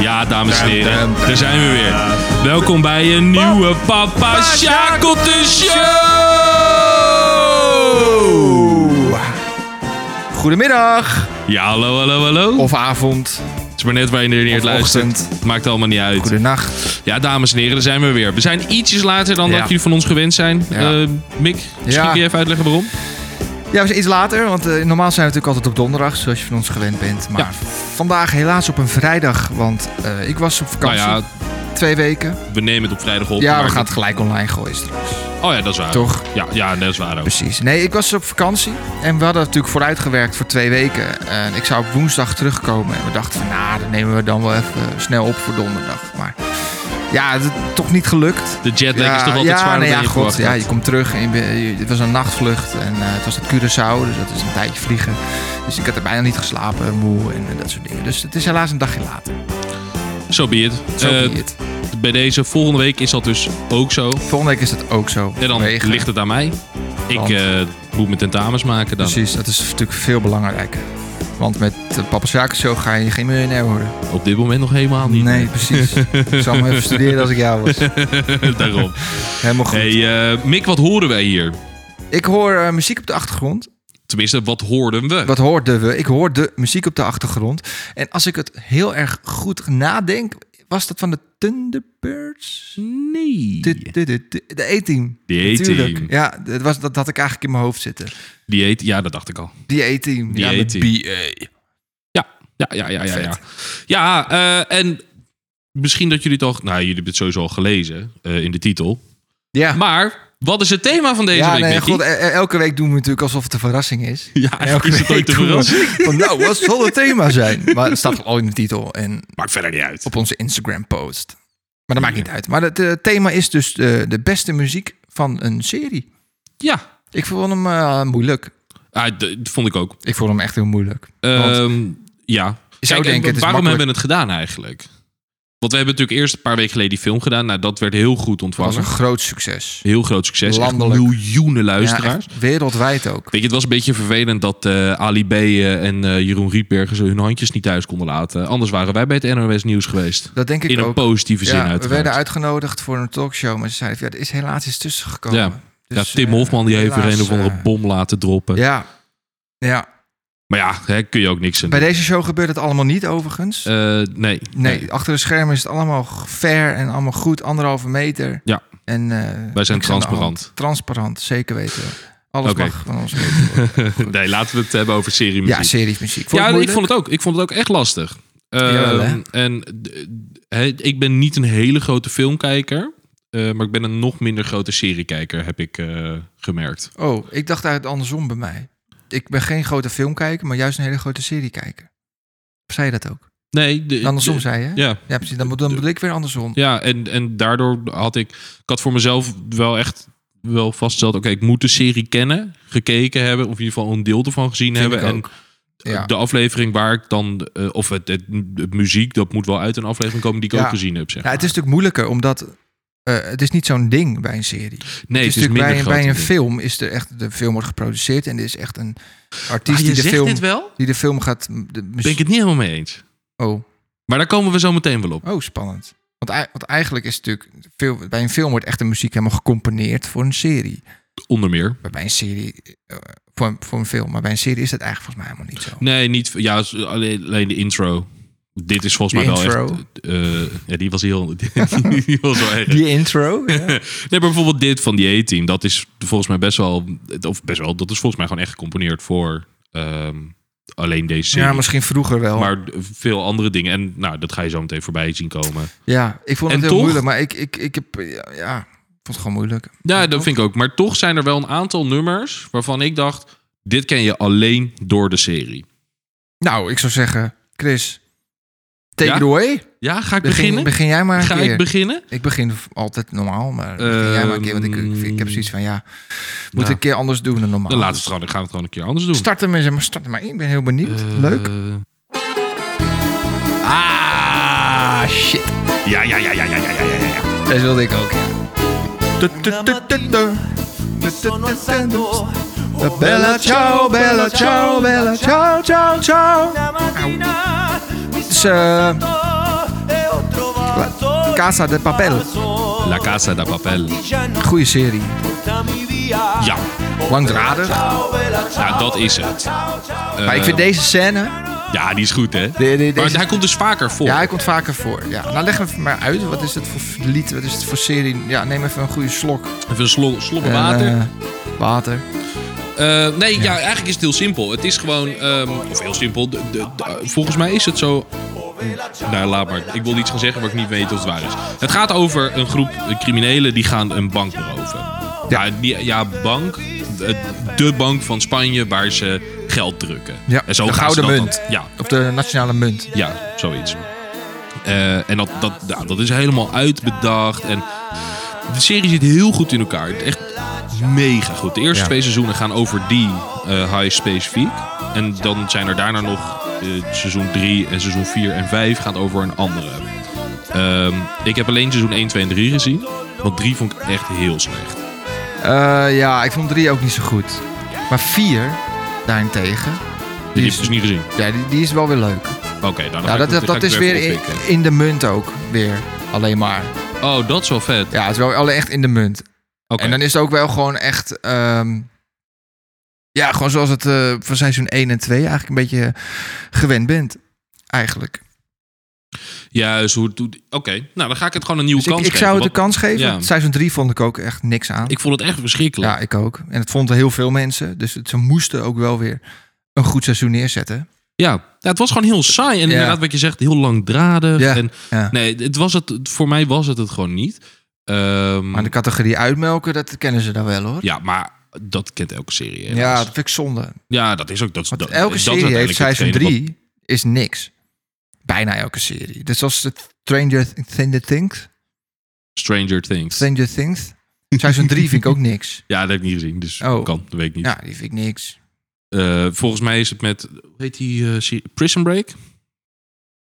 Ja, dames en heren, daar zijn we weer. Welkom bij een nieuwe Papa Shackleton Show! Goedemiddag. Ja, hallo, hallo, hallo. Of avond. het is maar net waar je er neer of luistert. ochtend. Maakt allemaal niet uit. Goedenacht. Ja, dames en heren, daar zijn we weer. We zijn ietsjes later dan Ja. dat jullie van ons gewend zijn. Ja. Eh, Mick, misschien Ja. kun je even uitleggen waarom? Ja, we zijn iets later, want eh, normaal zijn we natuurlijk altijd op donderdag, zoals je van ons gewend bent. Maar Ja. vandaag helaas op een vrijdag, want eh, ik was op Nou vakantie. ja, Twee weken. we nemen het op vrijdag op. ja, maar- we gaan het gelijk online gooien straks. Oh ja, dat is waar. Toch? Ja, ja, dat is waar ook. Precies. Nee, ik was op vakantie en we hadden natuurlijk vooruitgewerkt voor twee weken. En ik zou op woensdag terugkomen en we dachten van, nou, dat nemen we dan wel even eh, snel op voor donderdag. Maar ja, het is toch niet gelukt. De jetlag is dus toch altijd ja, zwaarder nee, dan ja, je god, verwacht ja, had. je komt terug en je ben- je- het was een nachtvlucht en eh, het was op Curaçao, dus dat is een tijdje vliegen. Dus ik had er bijna niet geslapen, moe en, eh, dat soort dingen. Dus het is helaas een dagje later. Zo be it. Zo Eh, be it. Bij deze volgende week is dat dus ook zo. Volgende week is dat ook zo. En dan vanwege- ligt het aan mij. Ik Want- eh, moet mijn tentamens maken dan. Precies, dat is natuurlijk veel belangrijker. Want met de Papa Sjaak Show ga je geen miljonair worden. Op dit moment nog helemaal niet. Nee, precies. ik zou maar even studeren als ik jou was. Daarom. Helemaal goed. Hey, eh, Mick, wat horen wij hier? Ik hoor eh, muziek op de achtergrond. Tenminste, wat hoorden we? Wat hoorden we? Ik hoor de muziek op de achtergrond. En als ik het heel erg goed nadenk, was dat van de Thunderbirds? Nee. De, de, de, de, de A-team. Die Natuurlijk. E-team. Ja, dat, was, dat had ik eigenlijk in mijn hoofd zitten. Die heet, ja, dat dacht ik al. Die A-team. Die Ja, met A-team. BA. Ja, ja, ja, ja. Ja, Vet. ja eh, en misschien dat jullie toch... Nou, jullie hebben het sowieso al gelezen eh, in de titel. Ja, Maar wat is het thema van deze ja week, nee, Mickey? god, eh, el- el- elke week doen we natuurlijk alsof het een verrassing is. ja, eigenlijk is het ooit te doen we- verrassen. Van, nou, wat zal het thema zijn? Maar het staat al in de titel en Maakt verder niet uit. op onze Instagram-post. Maar dat maakt niet uit. Maar het eh, thema is dus eh, de beste muziek van een serie. Ja, Ik vond hem eh, moeilijk. ah, d- dat vond ik ook. Ik vond hem echt heel moeilijk. Want- Ehm, ja. Je zou Kijk, en denken, het is waarom makkelijk. hebben we het gedaan eigenlijk? Want we hebben natuurlijk eerst een paar weken geleden die film gedaan. Nou, dat werd heel goed Het was ontvangen. een groot succes. Heel groot succes. Echt Landelijk. miljoenen luisteraars. Ja, echt wereldwijd ook. Weet je, het was een beetje vervelend dat eh, Ali B eh, en eh, Jeroen Rietbergen zo hun handjes niet thuis konden laten. Anders waren wij bij het NOS Nieuws geweest. Dat denk ik In een ook. positieve zin Ja, we uiteraard. werden uitgenodigd voor een talkshow, maar ze zeiden, ja, er is helaas iets tussen gekomen. Ja. Dus, ja, Tim eh, Hofman die heeft weer helaas, een of andere eh, bom laten droppen. Ja. ja, Maar ja, hè, kun je ook niks aan bij doen. deze show gebeurt het allemaal niet overigens. Eh, nee. nee, achter de schermen is het allemaal g- fair en allemaal goed. Anderhalve meter. Ja. En, eh, Wij niks aan zijn de hand. transparant. Transparant, zeker weten. we. Alles Oké. mag van ons weten worden. nee, laten we het hebben over serie Ja, series muziek. Vond je ja, het ik moeilijk? vond het ook. Ik vond het ook echt lastig. Ehm, Jawel, hè? en d- d- hè, ik ben niet een hele grote filmkijker. eh, maar ik ben een nog minder grote seriekijker, heb ik eh, gemerkt. Oh, ik dacht eigenlijk andersom bij mij. Ik ben geen grote filmkijker, maar juist een hele grote seriekijker. Of zei je dat ook? Nee, de, Andersom de- zei je? hè? Ja, Ja, precies. Dan, moet- dan bedoel ik weer andersom. ja en, en daardoor had ik... Ik had voor mezelf wel echt wel vastgesteld... Oké, ik moet de serie kennen, gekeken hebben... of in ieder geval een deel ervan gezien Vind hebben. ik En ook. Ja. de aflevering waar ik dan... eh, of het, het, het muziek, dat moet wel uit een aflevering komen... die ik Ja. ook gezien heb, zeg Ja, het is maar. natuurlijk moeilijker, omdat eh, het is niet zo'n ding bij een serie. nee, het is, minder natuurlijk bij, een- groot bij een dan- film is er echt de film wordt geproduceerd en er is echt een artiest Ah, je die de zegt film dit wel? die de film gaat de muziek. Ben ik het niet helemaal mee eens. Oh, Maar daar komen we zo meteen wel op. oh, spannend. Want, ei- want eigenlijk is het natuurlijk veel, bij een film wordt echt de muziek helemaal gecomponeerd voor een serie. Onder meer. Maar bij een serie eh, voor, een- voor een film, maar bij een serie is dat eigenlijk volgens mij helemaal niet zo. Nee, niet. Ja, is alleen, alleen de intro. Dit is volgens De mij wel intro? echt. eh, ja, die was heel. Die, was wel erg. Die intro. ja. Nee, maar bijvoorbeeld dit van die A-team. Dat is volgens mij best wel. Of best wel. Dat is volgens mij gewoon echt gecomponeerd voor. ehm, alleen deze serie. Ja, misschien vroeger wel. Maar veel andere dingen. En nou, dat ga je zo meteen voorbij zien komen. ja, ik vond het En heel toch- moeilijk, maar ik, ik, ik heb, eh, ja, ja, ik vond het gewoon moeilijk. Ja, dat vind ik ook. Maar toch zijn er wel een aantal nummers waarvan ik dacht. Dit ken je alleen door de serie. Nou, ik zou zeggen, Chris, take Ja? it away. Ja, ga ik Begin, beginnen? begin jij maar een ga keer. ik beginnen? Ik begin v- altijd normaal, maar begin jij maar een keer. Want ik, ik, Ehm, ik heb zoiets van, ja, moet Nou. ik een keer anders doen dan normaal. Dan laten we het gewoon, dan gaan we het gewoon een keer anders doen. Start hem eens, maar start hem maar in. Ik ben heel benieuwd. Eh, Leuk. Ah, shit. Ja, ja, ja, ja, ja, ja, ja, ja, ja. Dat wilde ik ook, ja. Tu, tu, tu, tu, tu. Tu, tu, tu, tu, tu. Eh, Bella ciao, bella ciao, bella ciao, ciao, ciao. mattina mi Dus, eh, sono e Papel. Casa de Papel. La Casa de Papel. Goeie serie. Eh. Ja, Oh, Langdradig. nou, dat is het. maar ik vind deze scène... Eh, Oh. Ja, die is goed, hè? de- de- Maar deze- hij komt dus vaker voor. Ja, hij komt vaker voor. Ja. Nou, leg even maar uit. Wat is het voor lied? Wat is het voor serie? Ja, neem even een goede slok. Even een slo- slokken En, water. eh, water. Eh, nee, ja. eigenlijk is het heel simpel. Het is gewoon, ehm, of heel simpel. de- de- de- eh, volgens mij is het zo. Nou, laat maar. Ik wil iets gaan zeggen waar ik niet weet of het waar is. Het gaat over een groep eh, criminelen die gaan een bank beroven. Ja, die, ja bank. De, de bank van Spanje waar ze geld drukken. Ja, En zo de gaan ze gouden dat- munt. ja, Of de nationale munt. ja, zoiets. Eh, en dat, dat, nou, dat is helemaal uitbedacht. En de serie zit heel goed in elkaar. Het is Echt mega goed. De eerste Ja. twee seizoenen gaan over die eh high specifiek. En dan zijn er daarna nog eh, seizoen 3 en seizoen 4 en 5 gaan over een andere. Ehm, ik heb alleen seizoen 1, 2 en 3 gezien. Want 3 vond ik echt heel slecht. Eh, ja, ik vond drie ook niet zo goed. Maar vier, daarentegen. Die Die heb ik is, dus niet gezien. ja, die, die is wel weer leuk. Oké, nou, dan ga Ja, ik dat, het- dat, ga ik is het weer even in, oppikken. in de munt ook. Weer. Alleen maar. Oh, dat is wel vet. Ja, het is wel alle echt in de munt. Oké. En dan is het ook wel gewoon echt. ehm, ja, gewoon zoals het eh, van seizoen 1 en 2 eigenlijk een beetje eh, gewend bent. Eigenlijk. Juist, hoe het doet. Oké, nou dan ga ik het gewoon een nieuwe Dus ik, kans ik geven. zou het want- een kans geven. ja. Seizoen 3 vond ik ook echt niks aan. Ik vond het echt verschrikkelijk. ja, ik ook. En het vonden heel veel mensen. Dus het- ze moesten ook wel weer een goed seizoen neerzetten. Ja. Ja, het was gewoon heel saai. En Ja. inderdaad, wat je zegt, heel langdradig. Ja, En, ja. Nee, het was het, voor mij was het het gewoon niet. Ehm, Maar de categorie uitmelken, dat kennen ze dan wel hoor. Ja, maar dat kent elke serie. Ja, helaas. dat vind ik zonde. ja dat is ook... Dat, is- Want dat, elke dat is serie heeft uiteindelijk seizoen hetgene 3 is niks. Bijna elke serie. Dus als het Stranger Stranger Things. wat Stranger Things. Stranger Things. Seizoen 3 vind ik ook niks. Ja, dat heb ik niet gezien. Dus Oh. kan, dat weet ik niet. Ja, die vind ik niks. Eh, volgens mij is het met... Hoe heet die eh, serie? Prison Break?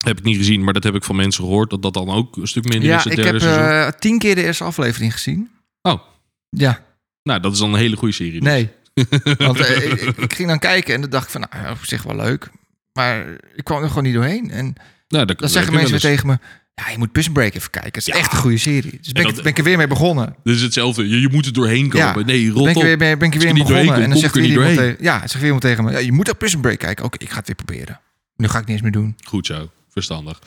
Heb ik niet gezien, maar dat heb ik van mensen gehoord. Dat dat dan ook een stuk minder is, Ja, het ik derde heb seizoen. eh, tien keer de eerste aflevering gezien. Oh. Ja, Nou, dat is dan een hele goede serie. Nou, dus. nee. Want eh, ik, ik ging dan kijken en dan dacht ik van, nou, op zich wel leuk. Maar ik kwam er gewoon niet doorheen. En Nou, dat, dan zeggen mensen weer tegen me, ja, je moet Prison Break even kijken. Het is Ja. echt een goede serie. Dus ben, En ik, dat- ben ik er weer mee begonnen. Dit is hetzelfde. Je, je moet er doorheen Ja. komen. Nee, rot Ben ik op. er weer, ben, ben ik er Als weer je mee niet begonnen. doorheen En dan komt, zegt kom weer ik er iemand, niet tegen, ja, zegt weer iemand tegen me, ja, je moet ook Prison Break kijken. Oké, ik ga het weer proberen. Nu ga ik niks meer doen. Goed zo. Verstandig.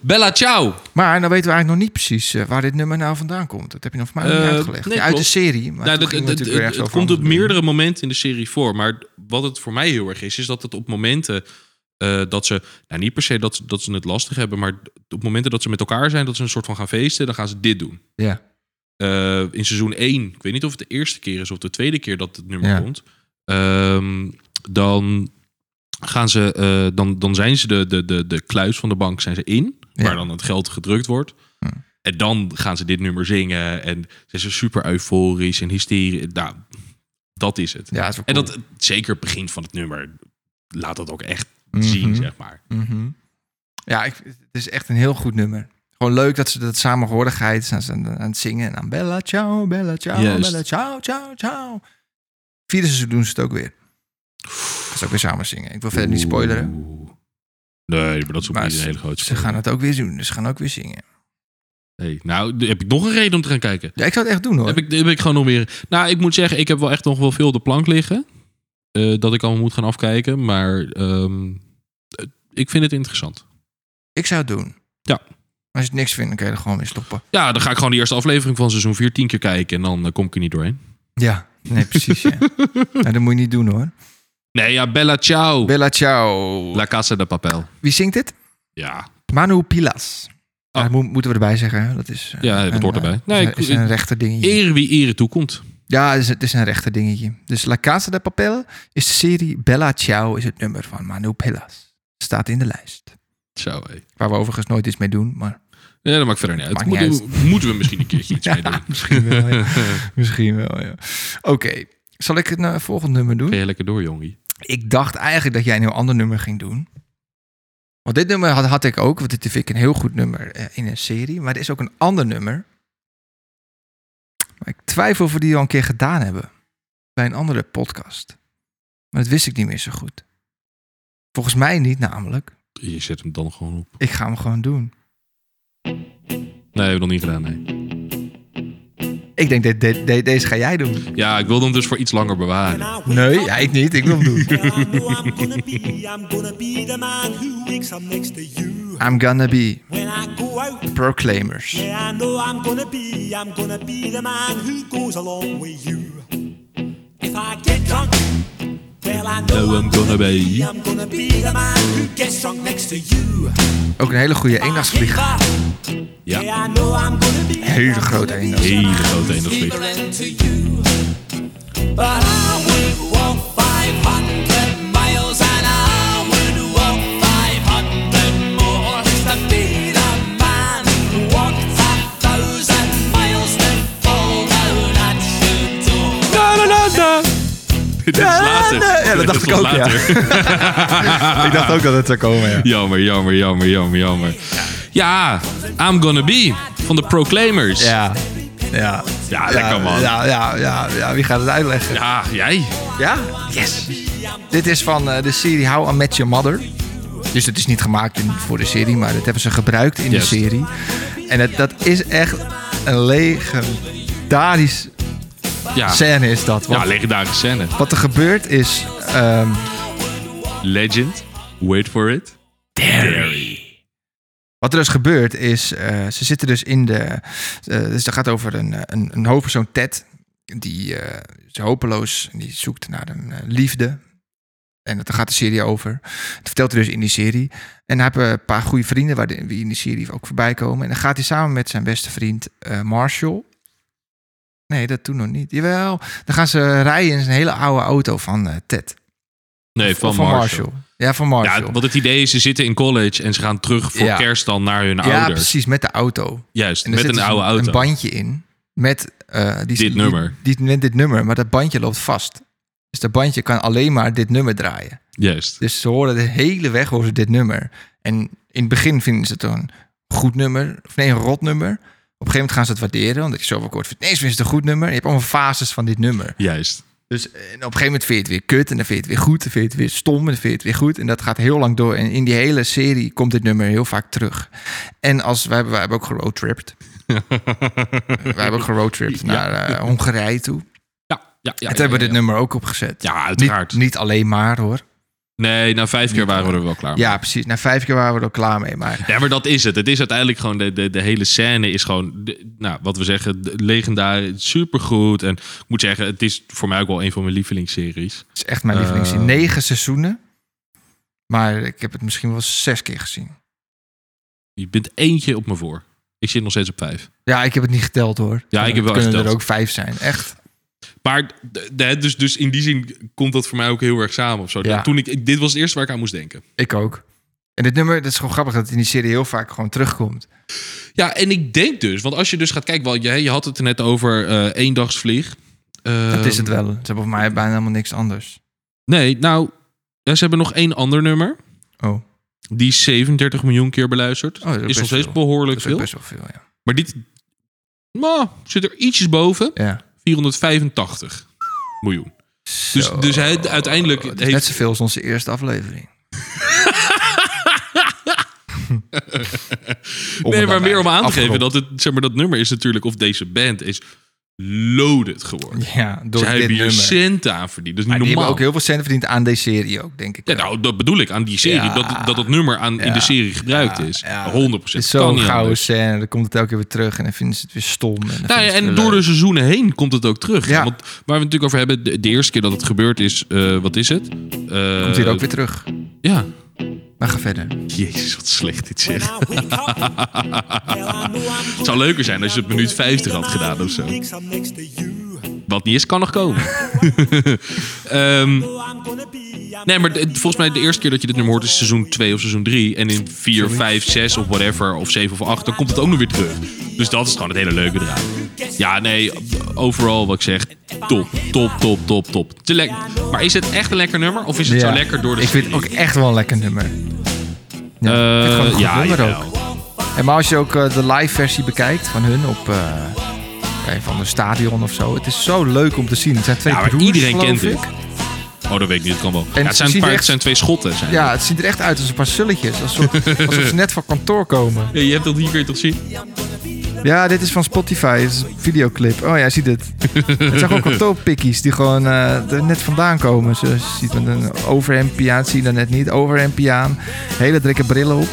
Bella Ciao. Maar dan weten we eigenlijk nog niet precies eh, waar dit nummer nou vandaan komt. Dat heb je nog voor mij nog Eh, niet uitgelegd. nee, Ja, uit de klopt. serie. Maar Nou, toen dat- gingen we dat- natuurlijk weer het ergens het over komt op anders doen. meerdere momenten in de serie voor. Maar wat het voor mij heel erg is, is dat het op momenten eh, dat ze... Nou, niet per se dat, ze- dat ze het lastig hebben, maar op momenten dat ze met elkaar zijn... dat ze een soort van gaan feesten, dan gaan ze dit doen. Ja. Eh, in seizoen 1, ik weet niet of het de eerste keer is of de tweede keer dat het nummer Ja. komt... ehm, dan, gaan ze, eh, dan, dan zijn ze de, de, de, de kluis van de bank zijn ze in, Ja. waar dan het geld gedrukt wordt... Hm. En dan gaan ze dit nummer zingen. En ze zijn super euforisch en hysterisch. Nou, dat is het. Ja, dat is wel En cool. dat zeker het begin van het nummer laat dat ook echt Mhm. zien, zeg maar. Mhm. Ja, ik, het is echt een heel goed nummer. Gewoon leuk dat ze dat samenhorigheid zijn ze aan, aan het zingen. En aan Bella Ciao, Bella Ciao, Juist. Bella Ciao, Ciao, Ciao. Vierde seizoen doen ze het ook weer. Gaan ze ook weer samen zingen. Ik wil verder niet spoileren. Oeh. Nee, maar dat is ook Maar niet een hele grote Ze spoiler. gaan het ook weer doen. Dus ze gaan ook weer zingen. Hey, nou, d- heb ik nog een reden om te gaan kijken. Ja, ik zou het echt doen hoor. Heb ik, heb ik gewoon nog weer... Nou, ik moet zeggen, ik heb wel echt nog wel veel op de plank liggen. eh, dat ik allemaal moet gaan afkijken. Maar ehm, eh, ik vind het interessant. Ik zou het doen. Ja. Als je het niks vindt, dan kun je er gewoon weer stoppen. Ja, dan ga ik gewoon de eerste aflevering van seizoen 4 tien keer kijken. En dan eh, kom ik er niet doorheen. Ja. Nee, precies. Ja. Nou, dat moet je niet doen hoor. Nee, ja, Bella Ciao. Bella Ciao. La Casa de Papel. Wie zingt dit? Ja, Manu Pilas. Oh. Ja, mo- moeten we erbij zeggen. Dat is, eh, Ja, dat een, hoort erbij. eh, Nee, is, ik- een, is een rechter dingetje. eer wie ere toekomt. ja, het is, het is een rechter dingetje. Dus La Casa de Papel is de serie. Bella Ciao is het nummer van Manu Pilas. Staat in de lijst. Zo, hé. Waar we overigens nooit iets mee doen, maar Ja, dat maakt verder niet uit. Maakt niet Moeten we- Moeten we misschien een keertje iets Ja, mee doen. misschien wel, ja. misschien wel. Ja. Oké, zal ik het nou, volgende nummer doen? Ga je lekker door, jongie. Ik dacht eigenlijk dat jij een heel ander nummer ging doen. Want dit nummer had, had ik ook, want dit vind ik een heel goed nummer eh, in een serie. Maar er is ook een ander nummer. Maar ik twijfel of we die al een keer gedaan hebben. Bij een andere podcast. Maar dat wist ik niet meer zo goed. Volgens mij niet namelijk. Je zet hem dan gewoon op. Ik ga hem gewoon doen. Nee, hebben we nog niet gedaan, nee. Ik denk, dit- dit- dit- deze ga jij doen. Ja, ik wilde hem dus voor iets langer bewaren. Nee, ja, ik niet. Ik wil hem doen. Well, I know I'm gonna be, I'm gonna be the man who wakes up next to you. I'm gonna be When I go out, proclaimers. yeah, I know I'm gonna be, I'm gonna be the man who goes along with you. If I get drunk, well, I know No, Oh, I'm gonna be. I'm gonna be the man who gets drunk next to you. Ook een hele goede If eendagsvlieger. I give up, Ja, Yeah, I know I'm gonna be, Hele I'm grote gonna be eendagsvlieger. hele grote eendagsvlieger. equivalent to you. But I would walk 500 miles and I would walk 500 more just to be the man who walked a thousand miles to fall down at your door. Dit is later. Ja, dat dacht Dit ik was ook, ja. later. Ik dacht ook dat het zou komen, ja. Jammer, jammer, jammer, jammer, jammer. Ja, I'm Gonna Be van de Proclaimers. Ja, ja. Ja, Ah, lekker man. Ja, Ja, ja, ja, ja. Wie gaat het uitleggen? jij. Ja? Yes. Dit is van eh, de serie How I Met Your Mother. Dus het is niet gemaakt in- voor de serie, maar dat hebben ze gebruikt in Juist. de serie. En het, dat is echt een legendarische Ja, scène is dat. Want Ah. ja legendarische scène. wat er gebeurt is... ehm, Legend. Wait for it. Wat er dus gebeurt is, eh, ze zitten dus in de... eh, dus dat gaat over een, eh, een, een hoofdpersoon, Ted. Die eh, is hopeloos, en die zoekt naar een eh, liefde. En daar gaat de serie over. Dat vertelt hij dus in die serie. En hij heeft eh, een paar goede vrienden waar de- die in die serie ook voorbij komen. En dan gaat hij samen met zijn beste vriend eh, Marshall... Nee, dat toen nog niet. Jawel, dan gaan ze rijden in zijn hele oude auto van eh, Ted. Nee, van, Of Marshall. Ja, van Marshall. Ja, want het idee is, ze zitten in college en ze gaan terug voor Ja. kerst dan naar hun ja ouders. precies, met de auto. Juist, En er met zit een dus oude auto. Een bandje in met eh, die, Dit nummer. Die, met dit nummer, maar dat bandje loopt vast. Dus dat bandje kan alleen maar dit nummer draaien. Juist. Dus ze horen de hele weg horen ze dit nummer. En in het begin vinden ze het een goed nummer, of nee, een rot nummer. Op een gegeven moment gaan ze het waarderen, omdat je zoveel kort vindt. Nee, ze vinden het een goed nummer. Je hebt allemaal fases van dit nummer. Juist. Dus eh, en op een gegeven moment vind je het weer kut en dan vind je het weer goed. Dan vind je het weer stom en dan vind je het weer goed. En dat gaat heel lang door. En in die hele serie komt dit nummer heel vaak terug. En als, wij hebben, wij hebben ook geroadtripped. wij hebben ook geroadtripped naar eh, Hongarije toe. en Ja, ja, ja. toen ja, hebben we dit ja. nummer ook opgezet. Ja, uiteraard. Niet, niet alleen maar hoor. Nee, na vijf keer waren we er wel klaar mee. Ja, precies. Na vijf keer waren we er klaar mee. Maar Ja, maar dat is het. Het is uiteindelijk gewoon de, de, de hele scène is gewoon, de- nou, wat we zeggen, de- legendarisch, supergoed. En ik moet zeggen, het is voor mij ook wel een van mijn lievelingsseries. het is echt mijn Eh. lievelingsserie. Negen seizoenen. Maar ik heb het misschien wel zes keer gezien. Je bent eentje op me voor. Ik zit nog steeds op vijf. Ja, ik heb het niet geteld hoor. Ja, ik heb wel Het kunnen er geteld. ook vijf zijn. Echt. Maar de, de- dus, dus in die zin komt dat voor mij ook heel erg samen of zo. Ja. Toen ik, ik- dit was het eerste waar ik aan moest denken. Ik ook. En dit nummer, dat is gewoon grappig dat het in die serie heel vaak gewoon terugkomt. Ja, en ik denk dus, want als je dus gaat kijken, wel, je, je had het er net over eh eendagsvlieg. Dat is Ehm, het wel. Ze hebben voor mij bijna helemaal niks anders. Nee, nou, ja, ze hebben nog één ander nummer. Oh, Die is 37 miljoen keer beluisterd. dat is ook is best nog steeds veel. dat behoorlijk is ook veel. best wel veel, ja. Maar dit nou, zit er ietsjes boven. ja. 485 miljoen. Dus, Zo. Oh, dus hij, uiteindelijk Dat is net heeft... zoveel als onze eerste aflevering. Nee, maar meer om aan te Afgerond. geven dat het, zeg maar, dat nummer is natuurlijk... Of deze band is loaded geworden. Ja, door Ze dit hebben hier nummer. centen aan verdiend. Dat is Maar niet die hebben normaal. ook heel veel centen verdiend aan deze serie ook, denk ik. Ja, wel. nou, dat bedoel ik aan die serie. Ja. Dat, dat het nummer aan, in de serie gebruikt Ja, is. ja. 100 Het is nou, Kan zo'n niet gouden anders. scène. Dan komt het elke keer weer terug en dan vinden ze het weer stom. En, dan Nou vinden ja, ze het weer en door leuk. de seizoenen heen komt het ook terug. Ja. Want waar we het natuurlijk over hebben, de, de eerste keer dat het gebeurd is, eh, wat is het? Eh, Komt hier ook weer terug. Ja. Maar ga verder. Jezus, wat slecht dit When zegt. I wake up, well, I know I'm gonna zou leuker zijn als je het op be the minuut 50 had man gedaan who of zo. wakes up next to you. Wat niet is, kan nog komen. Ehm, Oh, I'm gonna be, I'm nee, maar de- volgens mij de eerste keer dat je dit nummer hoort is seizoen 2 of seizoen 3. En in 4, 5, 6 of whatever, of 7 of 8, dan komt het ook nog weer terug. Dus dat is gewoon het hele leuke eraan. Ja, nee, overal wat ik zeg, top, top, top, top, top. Te lekker. Maar is het echt een lekker nummer? Of is het zo Ja. lekker door de Ik vind het serie? ook echt wel een lekker nummer. Ja, ik vind het Eh, gewoon een goed ja, nummer jawel. ook. En maar als je ook eh, de live versie bekijkt van hun op eh, een van de stadion of zo. Het is zo leuk om te zien. Het zijn twee Ja, maar broers, iedereen geloof kent ik. dit. Oh, dat weet ik niet. Het kan wel. Ja, het ze zijn, een zien paar, er het zijn twee schotten. Zijn. Ja, het ziet er echt uit als een paar sulletjes. Alsof, alsof ze net van kantoor komen. Ja, Je hebt dat hier, kun je toch zien? Ja, dit is van Spotify. Het is een videoclip. Oh ja, je ziet het. Het zijn gewoon kantoorpikkies die gewoon eh, er net vandaan komen. Ze ziet met een overhemdje aan, zie je dat net niet. Overhemdje aan, hele dikke brillen op.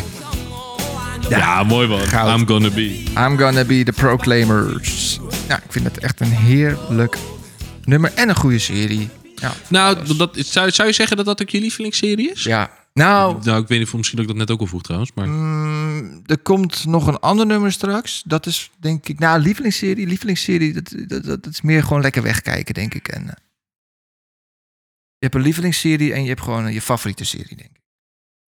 Ja, mooi man. Goud. I'm gonna be. I'm gonna be the Proclaimers. Ja, ik vind het echt een heerlijk nummer en een goede serie. Ja. Nou, dat, is- zou, zou je zeggen dat dat ook je lievelingsserie is? ja. Nou, Nou, ik weet niet of misschien dat ik dat net ook al vroeg trouwens. Maar mm, er komt nog een ander nummer straks. Dat is denk ik, nou, lievelingsserie. Lievelingsserie, dat, dat, dat, dat is meer gewoon lekker wegkijken, denk ik. En, eh, je hebt een lievelingsserie en je hebt gewoon eh, je favoriete serie, denk ik.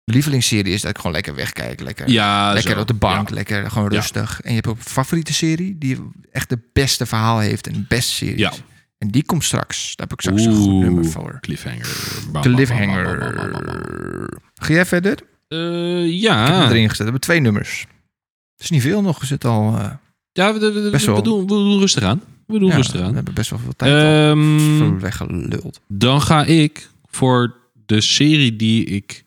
De lievelingsserie is dat ik gewoon lekker wegkijk. Lekker, ja, lekker zo. op de bank, Ja. lekker gewoon Ja. rustig. En je hebt ook een favoriete serie die echt de beste verhaal heeft en de beste serie. Ja. En die komt straks. Daar heb ik straks een goed Oeh, nummer voor. Cliffhanger. Ba- ba- ba- ba- ba- ba- ba- ba- Cliffhanger. Ga jij verder? Ik Eh, heb hem ja. erin gezet. We hebben twee nummers. Het is niet veel nog. We zitten al... eh, ja we, we- we- Best wel. we doen, we doen rustig aan. We doen ja, rustig We aan. hebben best wel veel tijd Ehm, al weggeluld. dan ga ik voor de serie die ik...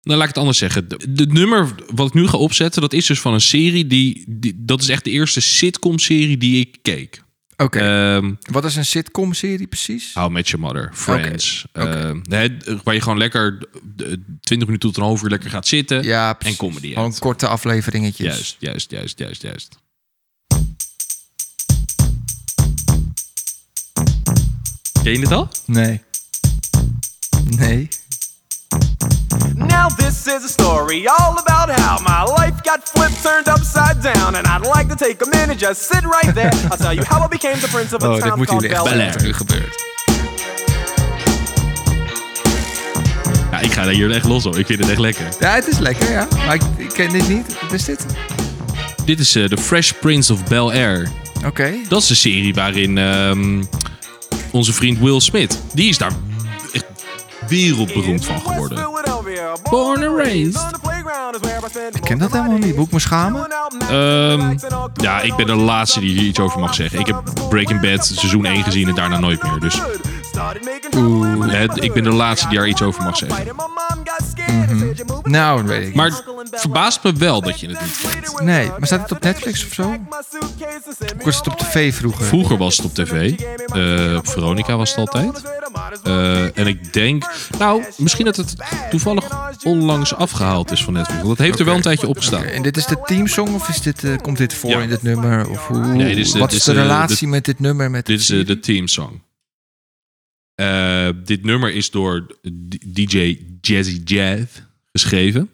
Nou, laat ik het anders zeggen. De- Het nummer wat ik nu ga opzetten, dat is dus van een serie die... die dat is echt de eerste sitcom-serie die ik keek. Oké. Ehm Wat is een sitcom-serie precies? How I Met Your Mother, Friends. Oké, oké. Eh, hè, waar je gewoon lekker eh, 20 minuten tot een half uur lekker gaat zitten. Ja, precies. Ah, en comedy, Gewoon ja. korte afleveringetjes. Juist, juist, juist, juist, juist. Ken je het al? Nee. Nee. Now this is a story all about how my life got flipped, turned upside down, and I'd like to take a minute, just sit right there. I'll tell you how I became the prince of a Oh, dit town moet called jullie echt Bel Bel-Air. weten wat er nu gebeurt. Ja, ik ga daar hier echt los op. Ik vind het echt lekker. Ja, het is lekker, ja. Maar ik, ik ken dit niet. Wat is dit? Dit is eh, The Fresh Prince of Bel-Air. Oké. Dat is de serie waarin ehm, onze vriend Will Smith... Die is daar echt wereldberoemd van geworden. Born and raised. Ik ken dat helemaal niet. Moet ik me schamen? Ehm, ja, ik ben de laatste die hier iets over mag zeggen. Ik heb Breaking Bad seizoen 1 gezien en daarna nooit meer, dus- Oeh. Hè, ik ben de laatste die daar iets over mag zeggen. Mhm. Nou, dat weet ik Maar het verbaast me wel dat je het niet kent. Nee, maar staat het op Netflix of zo? Hoe was het op tv vroeger? Vroeger was het op tv. Eh, op Veronica was het altijd. Eh, en ik denk... Nou, misschien dat het toevallig onlangs afgehaald is van Netflix. Want dat heeft er wel een tijdje op gestaan. En dit is de teamsong of is dit, eh, komt dit voor Ja. in dit nummer? Of hoe, Nee, dit is de- wat dit is is de de- relatie dit- met dit nummer? Met Dit is eh, de teamsong. Eh, dit nummer is door D- DJ Jazzy Jazz geschreven.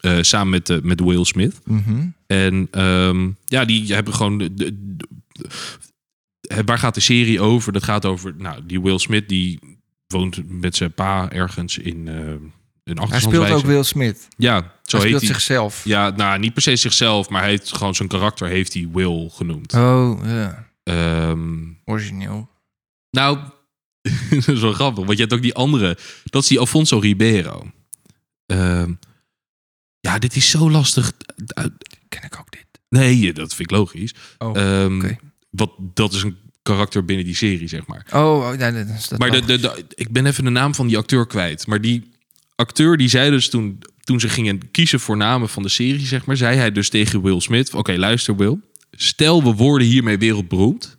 Eh, samen met, eh, met Will Smith. Mhm. En ehm, ja, die hebben gewoon. De, de- de- eh, waar gaat de serie over? Dat gaat over. Nou, die Will Smith die woont met zijn pa ergens in eh een Hij speelt ook achterstandswijze. Will Smith. Ja, zo hij heet speelt hij. zichzelf. Ja, nou, niet per se zichzelf, maar hij heeft gewoon zijn karakter heeft hij Will genoemd. Oh, ja. Ehm, Origineel. nou, dat is wel grappig, want je hebt ook die andere. Dat is die Alfonso Ribeiro. Ehm, ja, dit is zo lastig. Ken ik ook dit. Nee, dat vind ik logisch. Oh, Ehm, oké. wat, dat is een karakter binnen die serie, zeg maar. Oh, oh, ja, dat is dat Maar de, de, de- ik ben even de naam van die acteur kwijt. Maar die acteur die zei dus toen, toen ze gingen kiezen voor namen van de serie, zeg maar, zei hij dus tegen Will Smith: Oké, luister, Will. Stel we worden hiermee wereldberoemd,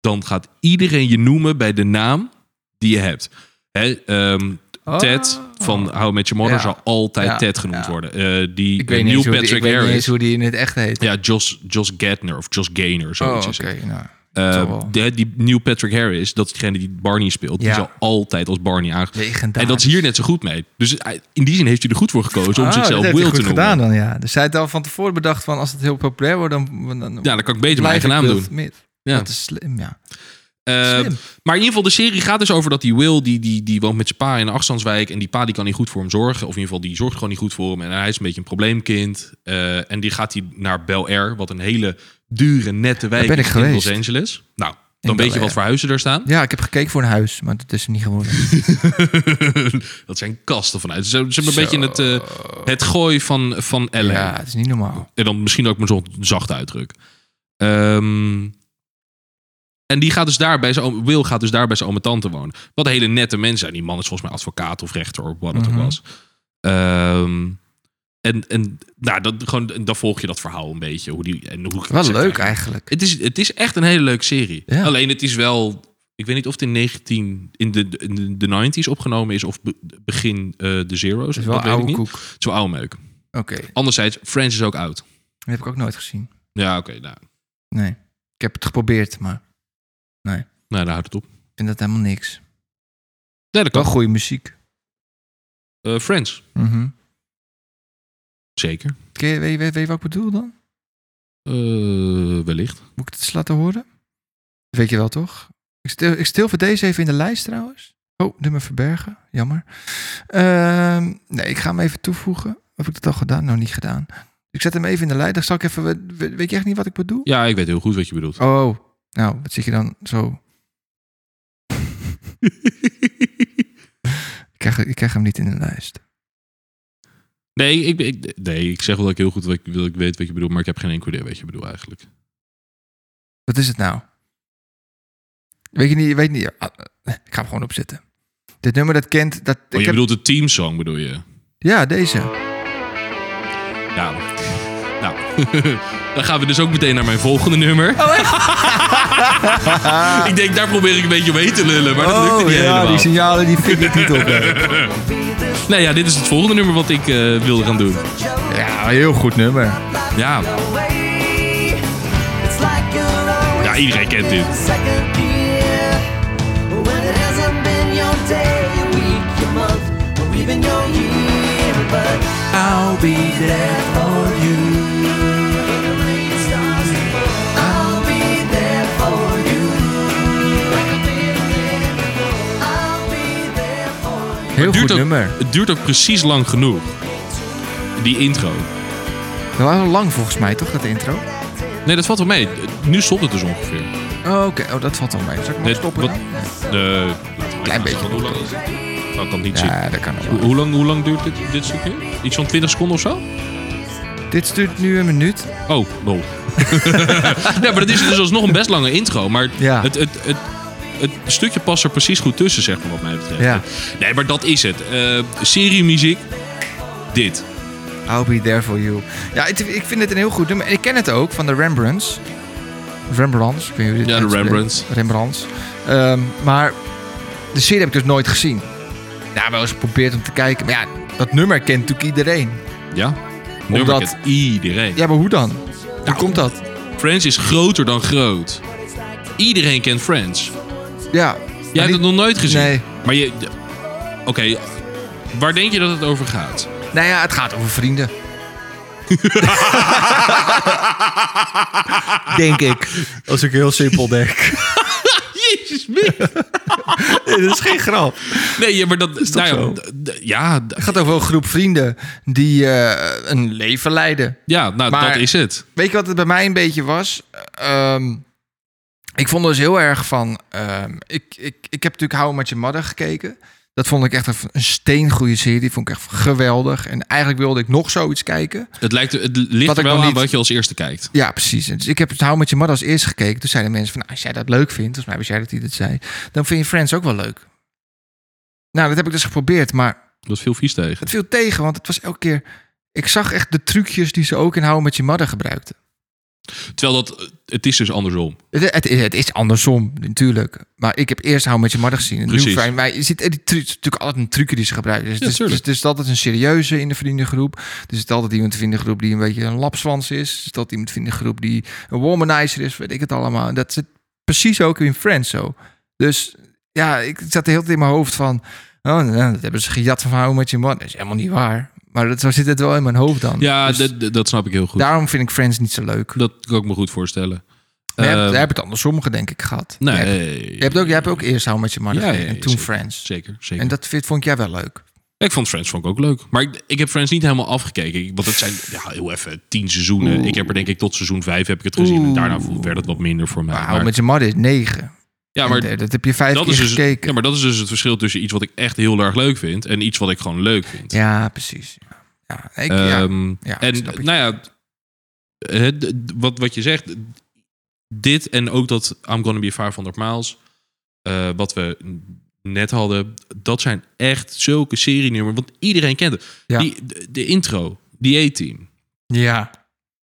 dan gaat iedereen je noemen bij de naam die je hebt. Hè, ehm, Oh. Ted van How I Met Your Mother Ja. zal altijd Ja, Ted genoemd ja. worden. Eh, die ik weet, niet Neil eens, hoe die, ik Patrick weet niet eens Harris. hoe die in het echt heet. Ja, Jos, Jos Gatner of Jos Gaynor, oh, zoiets oké. is het. nou, Eh, zal wel. de- die Neil Patrick Harris, dat is degene die Barney speelt. Ja. Die zal altijd als Barney aangekomen. Legendarisch. En dat is hier net zo goed mee. Dus eh, in die zin heeft hij er goed voor gekozen om Ah, zichzelf dat Will heeft te hij noemen. goed gedaan dan, ja. Dus zij had al van tevoren bedacht van als het heel populair wordt, dan, dan, Ja, dan kan ik beter mijn blijf eigen ik naam Will doen. Smith. Ja. Dat is slim, ja. Eh, slim. maar in ieder geval, de serie gaat dus over dat die Will, die, die, die woont met zijn pa in een achterstandswijk. En die pa die kan niet goed voor hem zorgen. Of in ieder geval, die zorgt gewoon niet goed voor hem. En hij is een beetje een probleemkind. Eh, en die gaat hij naar Bel Air, wat een hele dure, nette wijk ben is ik in geweest. Los Angeles. Nou, dan Bel weet je Air. wat voor huizen er staan. Ja, ik heb gekeken voor een huis, maar dat is er niet geworden. dat zijn kasten vanuit. Ze ze hebben Zo. een beetje het, eh, het gooi van, van LA. Ja, het is niet normaal. En dan misschien ook maar zo'n zachte uitdruk. Ehm, en die gaat dus daar bij zijn oom, Will gaat dus daar bij zijn oom en tante wonen. Wat hele Mhm. nette mensen zijn. Die man is volgens mij advocaat of rechter of wat het ook was. Ehm, En, en nou, dat, gewoon, en dan volg je dat verhaal een beetje. Hoe die, en hoe ik het Wel zet leuk eigenlijk. Het is, het is echt een hele leuke serie. Ja. Alleen het is wel... Ik weet niet of het in, 19, in, de, in de- de 90s opgenomen is of be- begin eh, de Zero's. is wel dat weet oude ik niet. koek. Het is wel oude meuk. Oké, Anderzijds, Friends is ook oud. dat heb ik ook nooit gezien. Ja, oké. nou, Nee, ik heb het geprobeerd, maar ik nou, daar houdt het op. vind dat helemaal niks. Nee, dat Wel kan. goede muziek. Eh, Friends, Mhm. zeker. Ken je- Weet, je- weet je wat ik bedoel dan? Eh, wellicht. Moet ik het eens laten horen? Dat weet je wel toch? Ik stil, ik stil voor deze even in de lijst trouwens. Oh, nummer verbergen. Jammer. Ehm, nee, ik ga hem even toevoegen. Heb ik dat al gedaan? Nou, niet gedaan. Ik zet hem even in de lijst. Dan zal ik even... we- we- Weet je echt niet wat ik bedoel? Ja, ik weet heel goed wat je bedoelt. Oh, nou, wat zit je dan zo... ik, krijg, ik krijg hem niet in de lijst. Nee ik, ik- nee, ik zeg wel dat ik heel goed wat ik, dat ik weet wat je bedoelt, maar ik heb geen enkel idee wat je bedoelt eigenlijk. Oh, Wat is het nou? Weet je niet, je weet niet. ah, eh, ik ga hem gewoon opzetten. Dit nummer dat kent. Dat, Oh, ik je heb- bedoelt de teamsong, bedoel je? Ja, deze. Ja. Nou, dan gaan we dus ook meteen naar mijn volgende nummer. Oh, ik denk, daar probeer ik een beetje mee te lullen, maar dat lukte niet helemaal. signalen Oh, die vind ik niet op. Nee, ja, dit is het volgende nummer wat ik eh, wilde gaan doen. ja, heel goed nummer. Ja. Ja, iedereen kent dit. Heel duurt goed ook- nummer. Het duurt ook precies lang genoeg. Die intro. Dat was al lang volgens mij, toch, dat intro? Nee, dat valt wel mee. Nu stopt het dus ongeveer. Oh, Oké, oh, dat valt al mee. Zal ik maar Nee, stoppen? wat- dan? Eh, laten we Klein even beetje gaan. Hoe lang is het? Nou, ik kan het niet zien. Ja, dat kan ook Hoe, wel. hoe lang, hoe lang duurt dit, dit stukje? Iets van 20 seconden of zo? Dit stuurt nu een minuut. Oh, lol. nee, maar dat is dus alsnog een best lange intro. Maar Ja. het, het, het, het stukje past er precies goed tussen, zeg maar, wat mij betreft. Ja. Nee, maar dat is het. Eh serie muziek, dit. I'll be there for you. Ja, het- ik vind het een heel goed nummer. En ik ken het ook van de Rembrandts. Rembrandts, ik weet niet hoe je dit Ja, de uitspreekt. Rembrandts. Rembrandts. Ehm, maar de serie heb ik dus nooit gezien. Ja, wel eens geprobeerd om te kijken. Maar ja, dat nummer kent natuurlijk iedereen. Ja? Omdat- Omdat... iedereen. Ja, maar hoe dan? Hoe komt dat? Friends is groter dan groot. Iedereen kent Friends. Ja. Jij hebt het nog nooit gezien. Nee. Maar je... d- Oké, waar denk je dat het over gaat? Nou ja, het gaat over vrienden. Denk ik. Als ik heel simpel denk. Jezus, Mick. Dit is geen grap. Nee, ja, maar dat... is toch zo? Ja, d- Het gaat over een groep vrienden die eh, een leven leiden. ja nou, Maar- dat is het. Weet je wat het bij mij een beetje was? Ehm, ik vond dus heel erg van... ehm, ik, ik, ik heb natuurlijk How Met Je Mother gekeken. Dat vond ik echt een, een steengoede serie. Die vond ik echt geweldig. En eigenlijk wilde ik nog zoiets kijken. Het, lijkt, het ligt Wat er ik wel nog aan niet- wat je als eerste kijkt. Ja, precies. En Dus ik heb het How Met Je Mother als eerste gekeken. Toen zeiden mensen van... "Ah, Als jij dat leuk vindt, volgens mij was jij dat die dat zei... dan vind je Friends ook wel leuk. Nou, dat heb ik dus geprobeerd. Maar Dat viel vies tegen. het viel tegen, want het was elke keer... Ik zag echt de trucjes die ze ook in How Met Je Mother gebruikten. Terwijl dat, het is dus andersom. Het, het, het is andersom, natuurlijk. Maar ik heb eerst Hou met je Madden gezien. En nu Precies. vrij- maar je ziet eh, die truc, het is natuurlijk altijd een trucje die ze gebruiken. Dus, Ja, het is- tuurlijk. dus, dus het is altijd een serieuze in de vriendengroep. Dus het is altijd iemand in de vriendengroep die een beetje een lapswans is. Dus dat iemand in de vriendengroep die een womanizer is, weet ik het allemaal. En dat zit precies ook in Friends zo. Dus ja, ik het zat de hele tijd in mijn hoofd van... Oh, nou, dat hebben ze gejat van Hou met je Madden. Dat is helemaal niet waar. Maar dat, zo zit het wel in mijn hoofd dan. Ja, Dus dat- dat- dat snap ik heel goed. daarom vind ik Friends niet zo leuk. Dat kan ik me goed voorstellen. Maar jij hebt- Ehm, jij hebt het andersom, denk ik, gehad. nee, Jij hebt- Je hebt ook, jij hebt ook eerst How Met je Mother Ja, gekeken ja, en ja, toen zeker. Friends. Zeker, zeker. En dat vind- vond jij wel leuk. Ik vond Friends vond ik ook leuk. Maar ik, ik heb Friends niet helemaal afgekeken. Ik- Want het zijn ja, heel even tien seizoenen. Ik heb er denk ik tot seizoen vijf heb ik het gezien. En daarna vo- werd het wat minder voor mij. Maar How Maar- Met je Mother is negen. ja, maar En eh, dat heb je vijf dat keer is dus, gekeken. ja, maar dat is dus het verschil tussen iets wat ik echt heel erg leuk vind... en iets wat ik gewoon leuk vind. Ja, precies. Ja, ik, ja. Ehm, Ja, en snap ik. nou ja, het, wat, wat je zegt, dit en ook dat I'm Gonna Be 500 Miles, eh, wat we net hadden, dat zijn echt zulke serienummers, want iedereen kent het. Ja. Die, de, de intro, Die A-team. Ja.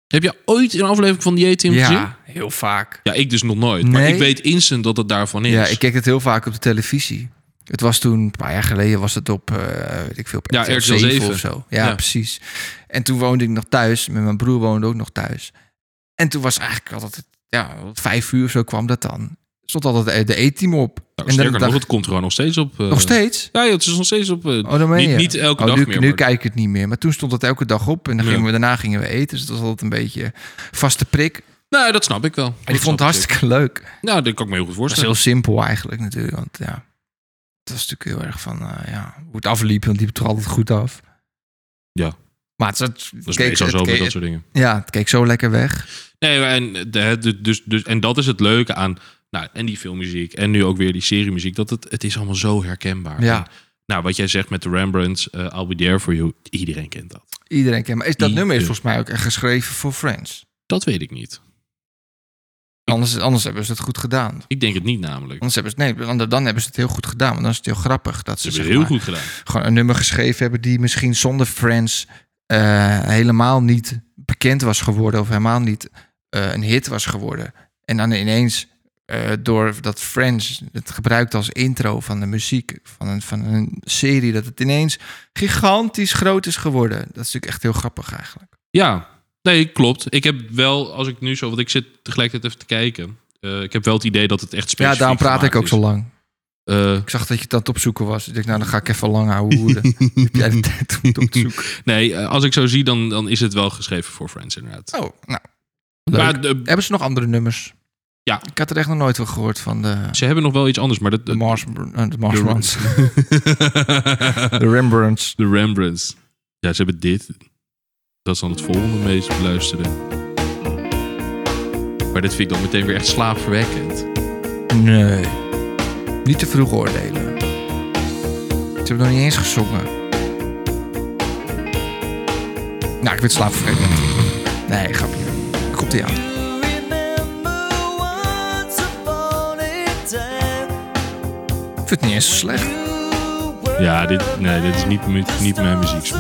Heb je ooit een aflevering van die A-team gezien? Ja, heel vaak. Ja, ik dus nog nooit. Maar Nee. ik weet instant dat het daarvan is. Nou, Ja, ik keek het heel vaak op de televisie. Het was toen, een paar jaar geleden, was het op, eh, weet ik veel, op Ja, RTL RTL 7 7. of zo. Ja, Ja. precies. En toen woonde ik nog thuis. Met mijn broer woonde ook nog thuis. En toen was eigenlijk altijd, ja, om vijf uur of zo kwam dat dan. Stond altijd de E-team op. Nou, en sterker nog, dacht ik, het komt er gewoon nog steeds op. eh, nog steeds? Ja, het is nog steeds op. eh, Oh, dan meen niet, je. niet elke Oh, dag nu, meer. Nu maar- kijk ik het niet meer. Maar toen stond dat elke dag op. En dan Ja. gingen we, daarna gingen we eten. Dus dat was altijd een beetje vaste prik. nou, dat snap ik wel. En ik vond het hartstikke leuk. Het Nou, dat kan ik me heel goed was voorstellen. heel simpel eigenlijk natuurlijk. Want ja, het was natuurlijk heel erg van eh, ja, hoe het afliep. Want die liep toch altijd goed af. Ja. Maar het, het, Dat is keek- meestal het zo met keek- dat soort dingen. Ja, het keek zo lekker weg. Nee, maar en, de, de- dus, dus, en dat is het leuke aan. Nou, en die filmmuziek. En nu ook weer die seriemuziek. Dat het, het is allemaal zo herkenbaar. Ja. En, nou, wat jij zegt met de Rembrandts, eh I'll be there for you. Iedereen kent dat. Iedereen kent. Maar is, dat Die- nummer is volgens mij ook echt geschreven voor Friends. Dat weet ik niet. Anders, anders hebben ze het goed gedaan. Ik denk het niet namelijk. Anders hebben ze, nee, want dan hebben ze het heel goed gedaan. Want dan is het heel grappig dat Ze ze, hebben zeg het heel maar, goed gedaan. gewoon een nummer geschreven hebben die misschien zonder Friends eh, helemaal niet bekend was geworden of helemaal niet eh, een hit was geworden. En dan ineens eh, door dat Friends het gebruikt als intro van de muziek van een, van een serie, dat het ineens gigantisch groot is geworden. Dat is natuurlijk echt heel grappig eigenlijk. Ja, nee, klopt. Ik heb wel, als ik nu zo, want ik zit tegelijkertijd even te kijken. eh, ik heb wel het idee dat het echt specifiek ja, daarom praat ik ook gemaakt zo lang. is. Eh, Ik zag dat je het aan het opzoeken was. Ik dacht, nou dan ga ik even lang houden. hoeren. Heb jij de tijd om het op te zoeken? nee, eh, als ik zo zie, dan, dan is het wel geschreven voor Friends inderdaad. Oh, nou. Leuk. Maar de- Hebben ze nog andere nummers? Ja. Ik had er echt nog nooit van gehoord van de, ze hebben nog wel iets anders, maar dat... de Mars, eh, de Mars de- Runs. De Rembrandts. De Rembrandts. Ja, ze hebben dit. Dat is dan het volgende meest beluisterde. Maar dit vind ik dan meteen weer echt slaapverwekkend. Nee. Niet te vroeg oordelen. Ze hebben nog niet eens gezongen. Nou, ik weet slaapverwekkend. Nee, grapje. Komt ie aan. Ik vind het niet eens zo slecht. Ja, dit, nee, dit is niet, mu- niet mijn muziek.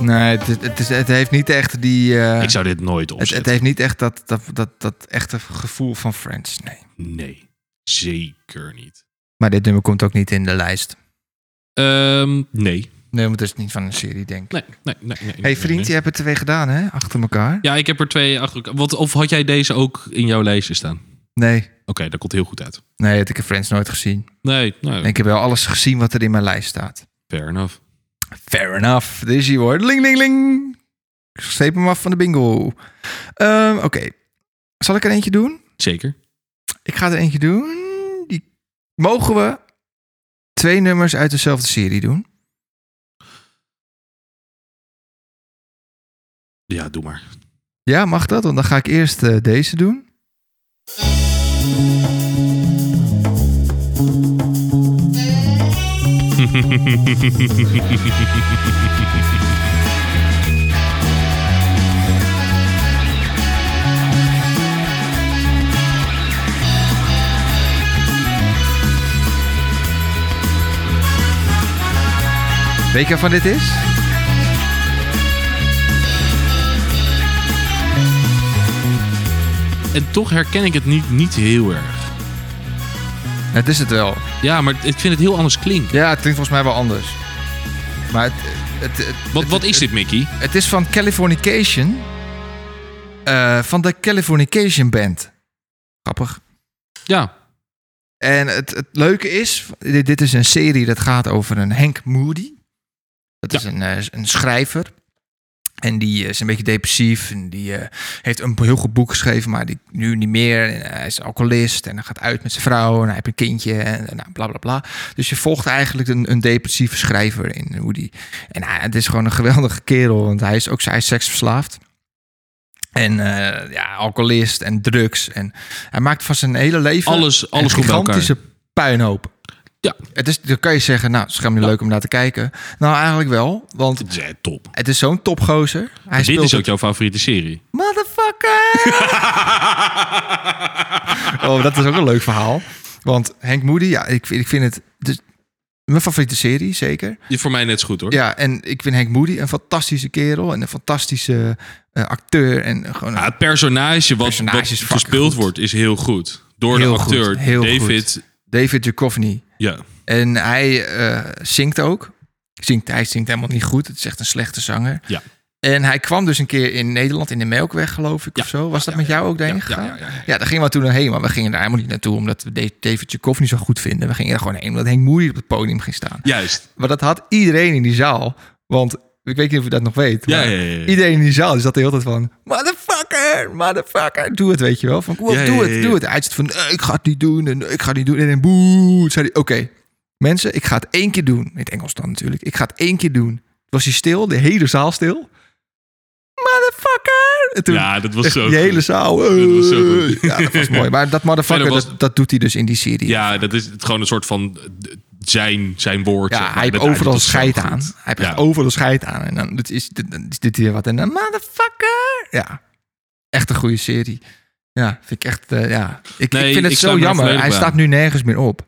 Nee, het, het, is, het heeft niet echt die... eh, Ik zou dit nooit het, opzetten. het heeft niet echt dat, dat, dat, dat echte gevoel van Friends, nee. Nee, zeker niet. Maar dit nummer komt ook niet in de lijst. Ehm, nee. Nee, want het is niet van een serie, denk ik. Nee, nee, nee. nee hey, vriend, je nee. hebt er twee gedaan, hè? Achter elkaar. Ja, ik heb er twee achter elkaar. Wat, of had jij deze ook in jouw lijstje staan? Oké, Nee. dat komt heel goed uit. Nee, ik heb Friends nooit gezien. Nee, nou, En ik heb wel alles gezien wat er in mijn lijst staat. fair enough. Fair enough. Dit is hier hoor. Ling, ling, ling. Ik Sleep hem af van de bingo. Ehm, Oké. Zal ik er eentje doen? Zeker. Ik ga er eentje doen. Die... Mogen we twee nummers uit dezelfde serie doen? Ja, doe maar. Ja, mag dat? Want dan ga ik eerst eh, deze doen. Weet je waarvan dit is? En toch herken ik het niet, niet heel erg. Het is het wel. Ja, maar ik vind het heel anders klinken. Ja, het klinkt volgens mij wel anders. Maar het, het, het, Wat, wat is dit, Mickey? het is van Californication. Eh, van de Californication Band. Grappig. Ja, En het, het leuke is, dit, dit is een serie dat gaat over een Hank Moody. Dat is een, eh, een schrijver. En die eh, is een beetje depressief. En die eh, heeft een heel goed boek geschreven, maar die, nu niet meer. En, eh, hij is alcoholist en hij gaat uit met zijn vrouw. En hij heeft een kindje en eh, nou, bla bla bla. Dus je volgt eigenlijk een, een depressieve schrijver in hoe die. En hij- het is gewoon een geweldige kerel, want hij is ook hij is seksverslaafd. En eh, ja, alcoholist en drugs. En hij maakt van zijn hele leven alles, een alles goed bij elkaar. gigantische puinhoop. Ja. Het is, dan kan je zeggen, nou, het is helemaal niet leuk om naar te kijken. Nou, eigenlijk wel, want Dit is echt top. het is zo'n topgozer. Hij Dit speelt is ook het- jouw favoriete serie. Motherfucker! oh, dat is ook een leuk verhaal. Want Henk Moody, ja, ik, vind- ik vind het... Dus, Mijn favoriete serie, zeker. Die voor mij net zo goed hoor. Ja, en ik vind Henk Moody een fantastische kerel en een fantastische eh, acteur. En gewoon een- Ja, het personage wat, Personage wat is fucking gespeeld goed. wordt is heel goed. Door Heel de goed, acteur heel David. goed. David Duchovny. Ja. En hij eh, zingt ook. Zingt, hij zingt helemaal niet goed. Het is echt een slechte zanger. Ja. En hij kwam dus een keer in Nederland in de Melkweg, geloof ik, Ja. of zo. Was dat Ja, met ja, jou ook ja, daarheen ja, gegaan? ja, ja, ja. daar gingen we toen naarheen. Maar we gingen daar helemaal niet naartoe, omdat we Da- David Tjekov niet zo goed vinden. We gingen er gewoon heen, omdat Henk Moerie op het podium ging staan. Juist. Maar dat had iedereen in die zaal. Want ik weet niet of je dat nog weet. Ja, maar ja, ja, ja. Iedereen in die zaal die zat de hele tijd van... Motherfucker, motherfucker. Doe het, weet je wel. Van, kom op, Ja, ja, doe ja, het, ja. doe het. Hij zit van, "Nee, ik ga het niet doen. En ik ga het niet doen. En dan boe. Toen zei hij, oké. mensen, ik ga het één keer doen. In het Engels dan natuurlijk. Ik ga het één keer doen. Toen was hij stil, de hele zaal stil. Motherfucker. En toen Ja, dat was echt zo Die goed. hele zaal. Dat was zo "Eh." goed. Ja, dat was mooi. Maar dat motherfucker, Verder was- dat, dat doet hij dus in die serie. Ja, dat is het gewoon een soort van eh, d- zijn, zijn woord. zeg Ja, maar. hij heeft Dat- overal dat is zo scheid goed. aan. Hij heeft Ja. echt overal scheid aan. En dan dit is dit, dan is dit weer wat. En dan, motherfucker! Ja, echt een goede serie. Ja, vind ik echt, eh, ja. Ik, Nee, ik vind het ik sluit zo me er jammer. volledig Hij bij staat aan. nu nergens meer op.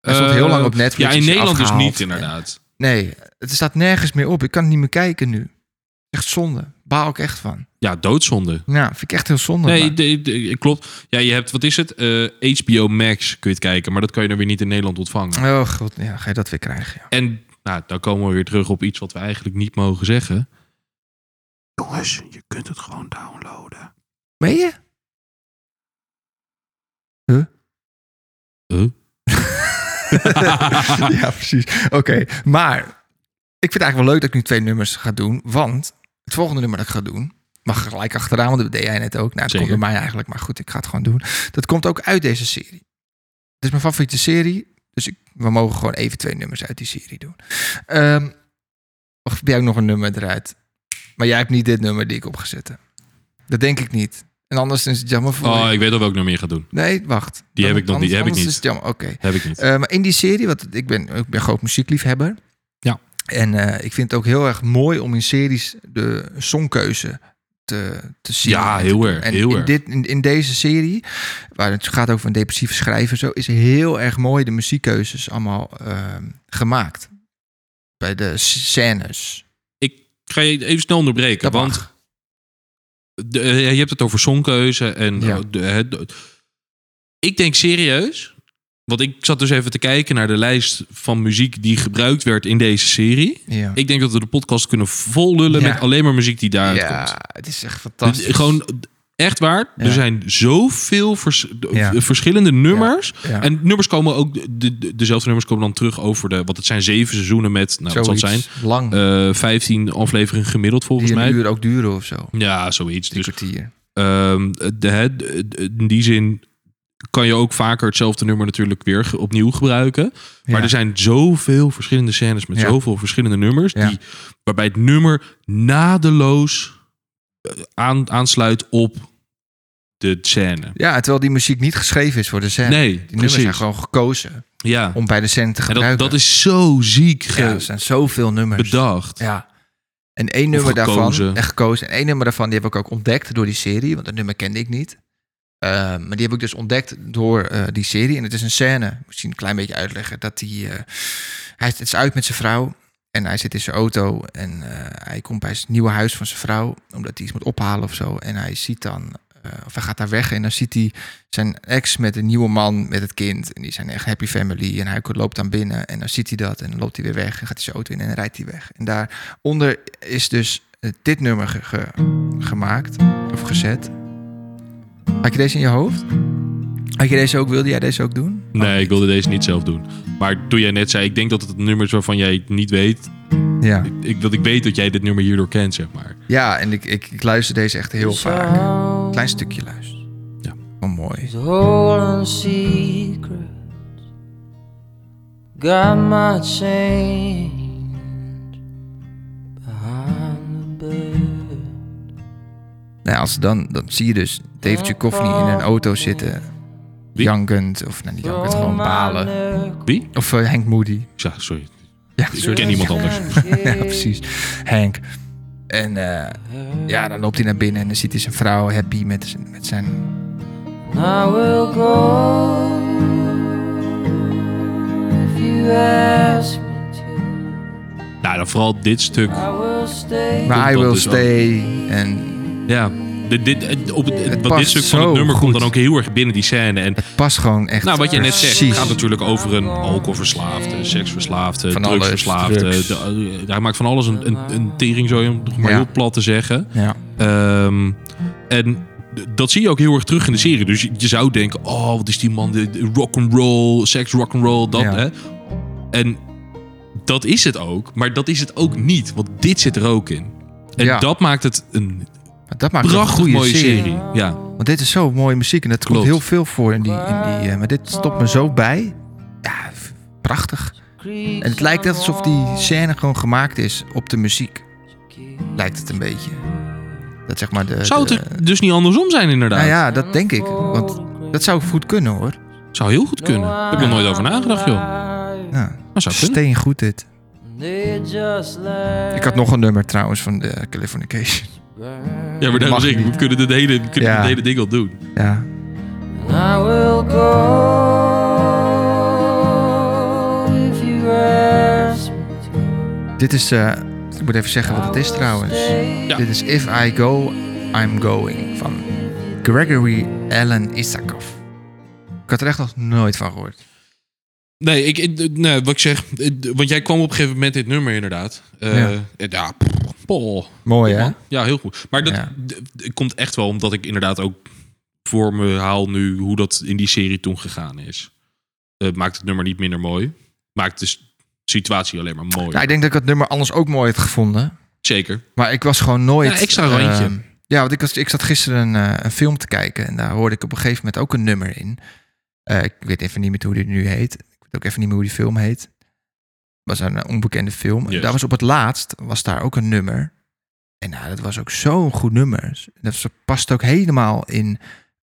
Hij stond heel Eh, lang op Netflix, Ja, in is hij Nederland dus afgehaald. Eh, niet inderdaad. Nee, het staat nergens meer op. Ik kan het niet meer kijken nu. Echt zonde. Baal ik echt van. Ja, doodzonde. Ja, vind ik echt heel zonde. Nee, maar- de- de- klopt. Ja, je hebt, wat is het? Eh, HBO Max kun je het kijken, maar dat kan je dan weer niet in Nederland ontvangen. Oh god, ja, ga je dat weer krijgen. Ja. En nou, dan komen we weer terug op iets wat we eigenlijk niet mogen zeggen. Jongens, je kunt het gewoon downloaden. Meen je? Huh? ja, precies. Oké, maar ik vind het eigenlijk wel leuk dat ik nu twee nummers ga doen. Want het volgende nummer dat ik ga doen, mag gelijk achteraan, want dat deed jij net ook. Nou, het Zeker. komt bij mij eigenlijk, maar goed, ik ga het gewoon doen. Dat komt ook uit deze serie. Het is mijn favoriete serie, dus ik, we mogen gewoon even twee nummers uit die serie doen. Ehm of heb jij ook nog een nummer eruit? Maar jij hebt niet dit nummer die ik op ga zetten. Dat denk ik niet. En anders is het jammer voor Oh, je. ik weet al welk nummer je gaat doen. Nee, wacht. Die heb ik nog niet, die heb ik Anders niet. is het jammer, oké. Heb ik niet. Eh, maar in die serie, want ik ben, ik ben groot muziekliefhebber. Ja. En eh, ik vind het ook heel erg mooi om in series de songkeuze te, te zien. Ja, en te heel doen. erg, En heel in, erg. Dit, in, in deze serie, waar het gaat over een depressieve schrijver, zo, is heel erg mooi de muziekkeuzes allemaal ehm, gemaakt. Bij de scènes. Ik ga je even snel onderbreken, Dat want mag. de- eh, je hebt het over songkeuze en Ja. eh, de- het- de- ik denk serieus, want ik zat dus even te kijken naar de lijst van muziek die gebruikt werd in deze serie. Ja. Ik denk dat we de podcast kunnen vol lullen Ja. met alleen maar muziek die daaruit ja, komt. het is echt Het- fantastisch. Gewoon echt waar. Ja. Er zijn zoveel vers- de- Ja. v- verschillende nummers. ja. En nummers komen ook, de, de- dezelfde nummers komen dan terug over de, want het zijn zeven seizoenen met, nou wat zal het zijn, Zoiets lang. eh 15 afleveringen gemiddeld volgens die een mij. uur ook duren of zo. Ja, zoiets. Drie Dus kwartier. ehm, de, hè, de- de- in die zin kan je ook vaker hetzelfde nummer natuurlijk weer ge- opnieuw gebruiken. Maar Ja. er zijn zoveel verschillende scènes met Ja. zoveel verschillende nummers. Ja. Die, waarbij het nummer nadeloos eh, aan, aansluit op de scène. Ja, terwijl die muziek niet geschreven is voor de scène. Nee, die nummers zijn precies. gewoon gekozen Ja. om bij de scène te En dat, gebruiken. dat is zo ziek ge- ja, er zijn zoveel nummers. bedacht. Ja. En één nummer daarvan, gekozen. en gekozen. En één nummer daarvan, die heb ik ook ontdekt door die serie, want dat nummer kende ik niet. Eh, maar die heb ik dus ontdekt door eh, die serie. En het is een scène, misschien een klein beetje uitleggen, dat hij, eh, hij het is uit met zijn vrouw. En hij zit in zijn auto en eh, hij komt bij het nieuwe huis van zijn vrouw, omdat hij iets moet ophalen of zo. En hij ziet dan, eh, of hij gaat daar weg en dan ziet hij zijn ex met een nieuwe man met het kind. En die zijn echt happy family. En hij loopt dan binnen en dan ziet hij dat. En dan loopt hij weer weg en gaat hij zijn auto in en dan rijdt hij weg. En daaronder is dus eh, dit nummer ge- ge- gemaakt of gezet. Had je deze in je hoofd? Had je deze ook, wilde jij deze ook doen? Nee, ik wilde deze niet zelf doen. Maar toen jij net zei, ik denk dat het nummers waarvan jij het niet weet. Ja. Ik, dat ik weet dat jij dit nummer hierdoor kent, zeg maar. Ja, en ik, ik, ik luister deze echt heel vaak. Klein stukje luisteren. Ja. Oh, mooi. Stolen secrets Got my change Behind the bed Nou, als dan, dan zie je dus David Duchovny in een auto zitten. Wie? Jankend, of nou niet jankend, gewoon balen. Wie? Of eh, Henk Moody. Ja, sorry. Ja, Ik ken niemand anders. ja, precies. Henk. En eh, ja, dan loopt hij naar binnen en dan ziet hij zijn vrouw happy met, zijn- met zijn... I will go if you you ask me to, Nou, dan vooral dit stuk. I will stay. Maar I dat Will dus ook. Stay en Ja. Dit, dit, het- op het, want dit past stuk van zo het nummer komt goed. dan ook heel erg binnen die scène. En pas gewoon echt nou, wat je net zegt, het precies. gaat natuurlijk over een alcoholverslaafde, seksverslaafde, Van alles, drugsverslaafde. drugs. De- eh, hij maakt van alles een, een, een tering, zo om het maar Ja. heel plat te zeggen. Ja. Ehm, en d- dat zie je ook heel erg terug in de serie. Dus je, je zou denken, oh, wat is die man, de- de rock and roll, seks, rock and roll, dat. Ja. Hè? En dat is het ook, maar dat is het ook niet, want dit zit er ook in. En Ja. dat maakt het een Maar dat maakt het een prachtig goede mooie serie. serie. Ja. Want dit is zo mooie muziek en dat Klopt. komt heel veel voor in die. In die eh, maar dit stopt me zo bij. Ja, f- prachtig. En het lijkt net alsof die scène gewoon gemaakt is op de muziek. Lijkt het een beetje. Dat zeg maar de. Zou de- het er dus niet andersom zijn, inderdaad? eh, Nou ja, dat denk ik. Want dat zou dus goed kunnen hoor. Zou heel goed kunnen. Daar heb ik nog nooit over nagedacht, joh. Ja, Maar zou kunnen. steen goed dit. They just let Ik had nog een nummer trouwens van de Californication. burn. Ja, maar daarom Mag zeg ik, we niet. kunnen dit hele, we kunnen Ja. dit hele ding al doen. Ja. I will go if you ask me Dit is. eh, ik moet even zeggen wat het is trouwens. Ja. Dit is If I Go, I'm Going van Gregory Allen Isakov. Ik had er echt nog nooit van gehoord. Nee, ik, ik- nee, wat ik zeg, ik- want jij kwam op een gegeven moment dit nummer inderdaad. Eh, Ja. en ja, pff, poh, Mooi man. ja, heel goed. Maar dat Ja. d- d- komt echt wel omdat ik inderdaad ook voor me haal nu hoe dat in die serie toen gegaan is. Eh, Het maakt het nummer niet minder mooi. Maakt de s- situatie alleen maar mooi. Ja, ik denk dat ik het nummer anders ook mooi had gevonden. Zeker. Maar ik was gewoon nooit... Ja, extra randje. ehm, ja, want ik, was, ik zat gisteren een, eh, een film te kijken en daar hoorde ik op een gegeven moment ook een nummer in. Eh, ik weet even niet meer hoe die nu heet. Ik weet ook even niet meer hoe die film heet. Het was een eh, onbekende film. En Juist. Daar was op het laatst was daar ook een nummer. En nou, dat was ook zo'n goed nummer. Dat was- past ook helemaal in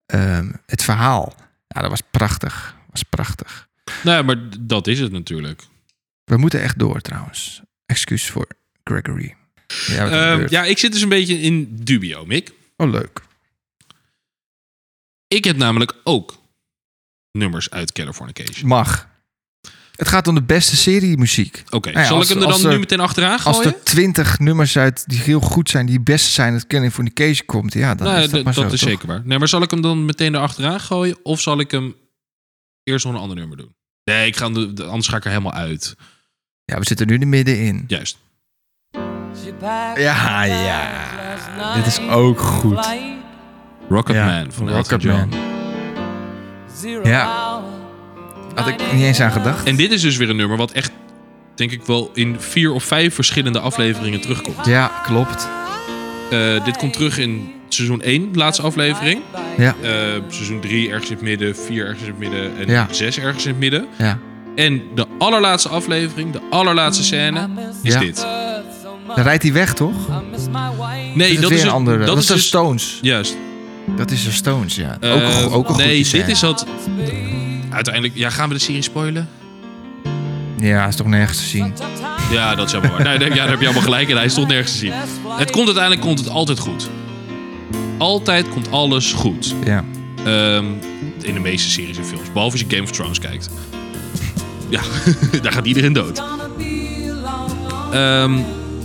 ehm, het verhaal. Ja, dat was prachtig. was prachtig. Nou ja, maar d- dat is het natuurlijk. We moeten echt door trouwens. Excuus voor Gregory. Ja, wat er Ehm, gebeurt. ja, ik zit dus een beetje in dubio, Mick. Oh, leuk. Ik heb namelijk ook nummers uit Californication. Mag. Het gaat om de beste serie muziek. Oké, Nou ja, zal als- ik hem er als dan er- nu meteen achteraan gooien? Als er twintig nummers uit die heel goed zijn, die best zijn, dat Kenny voor de case komt, ja, dan Nou, is dat dat, maar zo, dat is toch? zeker waar. Nee, maar zal ik hem dan meteen erachteraan gooien? Of zal ik hem eerst nog een ander nummer doen? Nee, ik ga hem de, de- anders ga ik er helemaal uit. Ja, we zitten nu er middenin. Juist. Ja, ja. Dit is ook goed. Flight Rocketman van Elton John. Rocketman. zero Ja. hour. Had ik niet eens aan gedacht. En dit is dus weer een nummer wat echt, denk ik wel, in vier of vijf verschillende afleveringen terugkomt. Ja, klopt. Eh, dit komt terug in seizoen 1, laatste aflevering. Ja, Eh, seizoen 3 ergens in het midden, 4 ergens in het midden en Ja. 6 ergens in het midden. ja. En de allerlaatste aflevering, de allerlaatste scène, is Ja. dit. Dan rijdt hij weg, toch? I miss my wife. Nee, is dat weer is, een andere. Dat, is de dus- Stones. Juist. Dat is de Stones, ja. Eh, ook, een go- ook een nee, goede dit scène. is dat. Uiteindelijk, ja, gaan we de serie spoilen? Ja, is toch nergens te zien. Ja, dat is jammer. waar. nee, nee, ja, daar heb je allemaal gelijk in. Hij stond nergens te zien. Het komt uiteindelijk komt het altijd goed. Altijd komt alles goed. Ja. Ehm, in de meeste series en films. Behalve als je Game of Thrones kijkt. Ja, daar gaat iedereen dood. Ehm,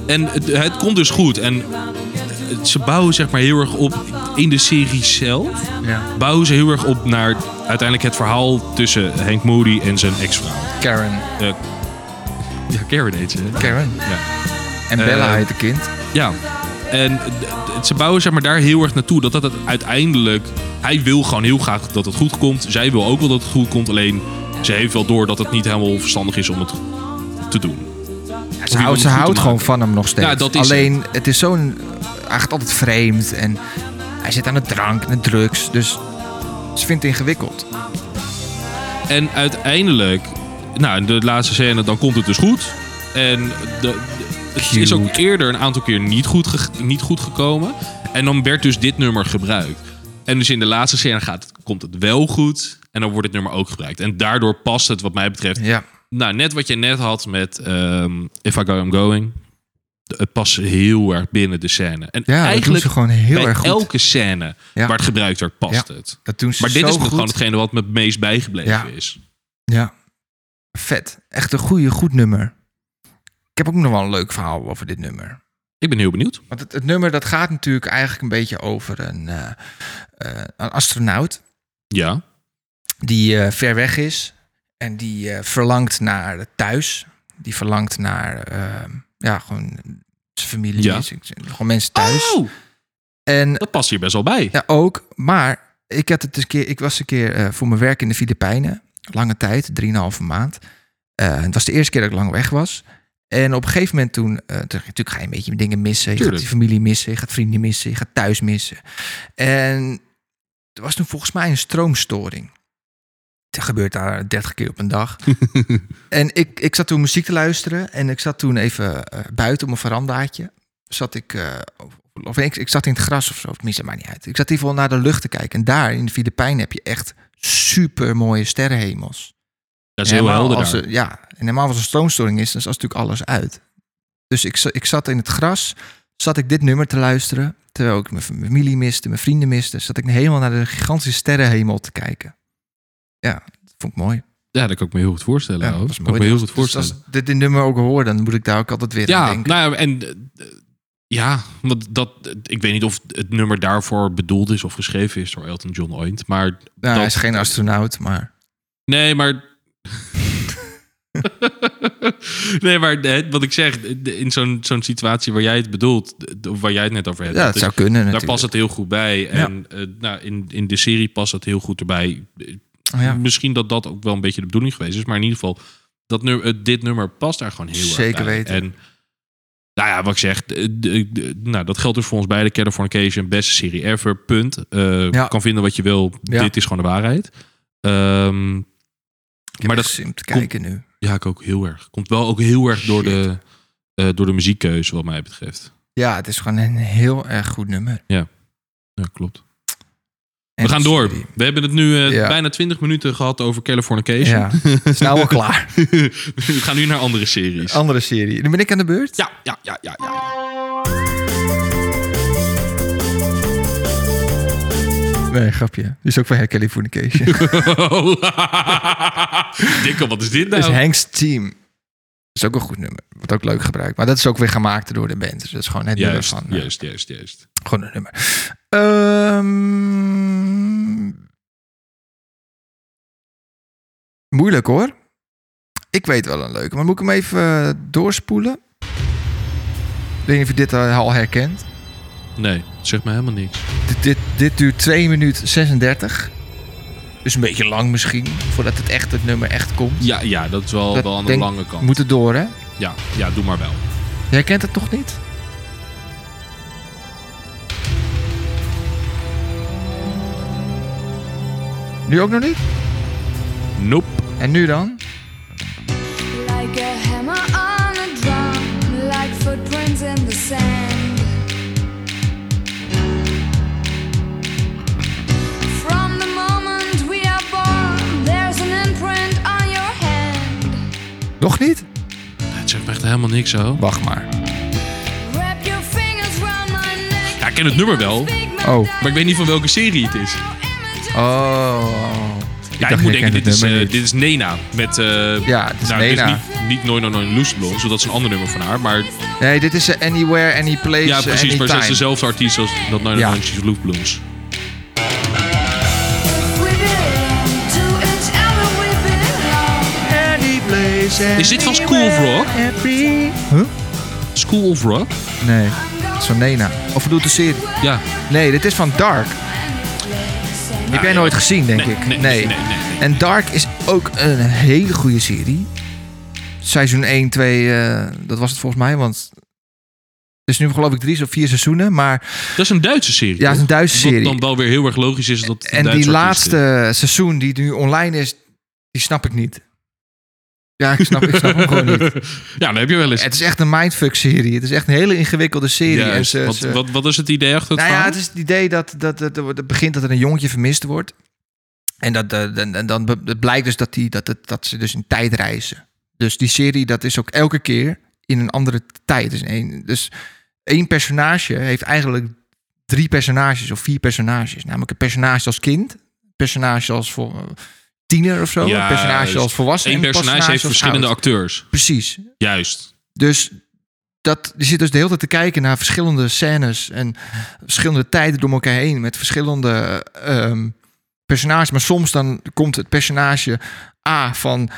en het, het komt dus goed. En het- ze bouwen zeg maar heel erg op in de serie zelf. ja. Bouwen ze heel erg op naar uiteindelijk het verhaal tussen Hank Moody en zijn ex-vrouw. Karen. Eh, ja, Karen heet ze. hè? Karen. Ja. En Bella Eh, heet het kind. ja. En d- d- ze bouwen zeg maar daar heel erg naartoe. Dat dat het uiteindelijk... Hij wil gewoon heel graag dat het goed komt. Zij wil ook wel dat het goed komt. Alleen ze heeft wel door dat het niet helemaal verstandig is om het te doen. Ze houdt, Om iemand ze goed te houdt maken. gewoon van hem nog steeds. Ja, dat is Alleen, het, is zo'n... Hij gaat altijd vreemd en hij zit aan de drank en de drugs. Dus ze vindt het ingewikkeld. En uiteindelijk... Nou, in de laatste scène, dan komt het dus goed. En de- de- het is Cute. ook eerder een aantal keer niet goed, ge- niet goed gekomen. En dan werd dus dit nummer gebruikt. En dus in de laatste scène gaat, het- komt het wel goed. En dan wordt het nummer ook gebruikt. En daardoor past het, wat mij betreft, Ja, Nou, net wat je net had met ehm, If I Go I'm Going. Het past heel erg binnen de scène. En ja dat doen eigenlijk ze gewoon heel bij erg goed. elke scène Ja. waar het gebruikt werd, past Ja, het. Dat doen ze Maar dit zo is goed. gewoon hetgene wat me het meest bijgebleven Ja. is. Ja. Vet. Echt een goede, goed nummer. Ik heb ook nog wel een leuk verhaal over dit nummer. Ik ben heel benieuwd. Want het, het nummer dat gaat natuurlijk eigenlijk een beetje over een, eh, eh, een astronaut Ja. die eh, ver weg is en die eh, verlangt naar het thuis. Die verlangt naar eh, ja, gewoon zijn familie, Ja. zijn- gewoon mensen thuis. Oh, En dat past hier best wel bij. ja, ook, maar ik, had het dus een keer, ik was een keer eh, voor mijn werk in de Filipijnen, lange tijd, drieënhalve maand. Eh, het was de eerste keer dat ik lang weg was. En op een gegeven moment toen, eh, toen- natuurlijk ga je een beetje dingen missen. Je Tuurlijk. gaat je familie missen, je gaat vrienden missen, je gaat thuis missen. En er was toen volgens mij een stroomstoring. Dat gebeurt daar 30 keer op een dag. en ik, ik zat toen muziek te luisteren en ik zat toen even eh, buiten op een verandaatje. Zat ik, eh, of, of ik, ik zat in het gras of zo, of het maar niet uit. Ik zat in ieder geval naar de lucht te kijken. En daar in de Filipijnen heb je echt super mooie sterrenhemels. Dat is heel En helemaal helder als daar. er- ja, en helemaal als er stroomstoring is, dan is natuurlijk alles uit. Dus ik, za- ik zat in het gras, zat ik dit nummer te luisteren. Terwijl ik mijn familie miste, mijn vrienden miste. Zat ik helemaal naar de gigantische sterrenhemel te kijken. Ja, dat vond ik mooi. Ja, dat kan ik me heel goed voorstellen. Ja, hoor. dat dat is kan mooi. Nou, ik me heel goed Dus voorstellen. als ik dit, dit nummer ook hoor, dan moet ik daar ook altijd weer aan Ja, denken. nou ja, en eh, eh, ja, want dat, eh, ik weet niet of het nummer daarvoor bedoeld is of geschreven is door Elton John ooit, maar Nou, hij dat- is geen astronaut, maar... nee, maar nee, maar eh, wat ik zeg, eh, in zo'n zo'n situatie waar jij het bedoelt, eh, of waar jij het net over hebt, Ja, dat dat is- zou kunnen daar natuurlijk. past het heel goed bij. En eh, nou, in, in de serie past dat heel goed erbij. Eh, Oh ja. Misschien dat dat ook wel een beetje de bedoeling geweest is, maar in ieder geval dat nu, eh, dit nummer past daar gewoon heel erg Zeker bij. weten. En nou ja, wat ik zeg, eh, d- d- nou, dat geldt dus voor ons beide. Californication, beste serie ever, punt. Eh, Ja. Kan vinden wat je wil, Ja. dit is gewoon de waarheid. Ehm, Ik heb maar dat echt zin om te kijken nu. ja, ik ook heel erg. Komt wel ook heel erg door de, eh, door de muziekkeuze wat mij betreft. Ja, het is gewoon een heel erg goed nummer. Ja, klopt. En We gaan door. serie. We hebben het nu eh, Ja. bijna 20 minuten gehad over Californication. Ja, het is nou al klaar. We gaan nu naar andere series. Andere serie. Dan ben ik aan de beurt. Ja, ja, ja, ja, ja. Nee, grapje. Die is ook van Hair Californication. Dikke, wat is dit Dat nou? is Hank's Team. is ook een goed nummer. Wordt ook leuk gebruikt. Maar dat is ook weer gemaakt door de band. Dus dat is gewoon het nummer juist, van. eh, juist, juist, juist. Gewoon een nummer. Ehm, moeilijk hoor. Ik weet wel een leuke. Maar moet ik hem even eh, doorspoelen? Ik weet niet of je dit eh, al herkent. Nee, zeg me helemaal niks. Dit, dit, dit duurt 2 minuten 36. Dus een beetje lang misschien. Voordat het echt het nummer echt komt. Ja, ja dat is wel, Dat wel aan de denk- lange kant. Moet het door hè? Ja, ja, doe maar wel. Jij kent het toch niet? Nu ook nog niet? Nope. En nu dan? Like a hammer on a drum, like footprints in the sand. From the moment we are born, there's an imprint on your hand. Nog niet? Het zegt me echt helemaal niks, zo. Wacht maar. Wrap your fingers round my neck. Ja, ik ken het nummer wel, Oh. maar ik weet niet van welke serie het is. Oh. Ja, ik dacht, moet jij kent denken, dit het is, nummer eh, niet. dit is Nena. Met, eh, Ja, het is nou, dit Nena. niet, niet Nooit Nooit Nooit Loose Blonde, zodat is een ander nummer van haar. Maar Nee, dit is eh, Anywhere, Anyplace, ja, precies, maar ze is Anytime. dezelfde artiest als dat Nooit Nooit Ja. Nooit Loose Blooms. dus- Is dit van School of Rock? School of Rock? Nee, het is van Nena. Of bedoelt de serie? Ja. Nee, dit is van Dark. Die heb jij nooit gezien, denk Nee, ik. nee, nee, nee, nee. En Dark is ook een hele goede serie. Seizoen 1, 2, eh, dat was het volgens mij. Want het is nu geloof ik drie of vier seizoenen. Maar Dat is een Duitse serie. ja, het is een toch? Duitse Wat serie. dan wel weer heel erg logisch is dat het een en die Duitse artiest laatste seizoen die nu online is, die snap ik niet. Ja, ik snap, ik snap hem gewoon niet. is. Ja, dan heb je wel eens. Het is echt een mindfuck-serie. Het is echt een hele ingewikkelde serie. En Juist. ze- wat, ze- wat, wat is het idee achter het nou ja, verhaal? het is het idee dat, dat, dat, er wordt- het begint dat er een jongetje vermist wordt. En dat, eh, dan, dan, dan be- het blijkt dus dat, die, dat, het- dat ze dus in tijd reizen. Dus die serie, dat is ook elke keer in een andere tijd. Dus één, dus één personage heeft eigenlijk drie personages of vier personages. Namelijk een personage als kind, een personage als vol- tiener of zo. een personage Juist. als volwassen. Eén en een dus personage heeft als verschillende oud. acteurs. Precies. Juist. Dus dat, je zit dus de hele tijd te kijken naar verschillende scènes en verschillende tijden door elkaar heen met verschillende ehm, personages. Maar soms dan komt het personage A van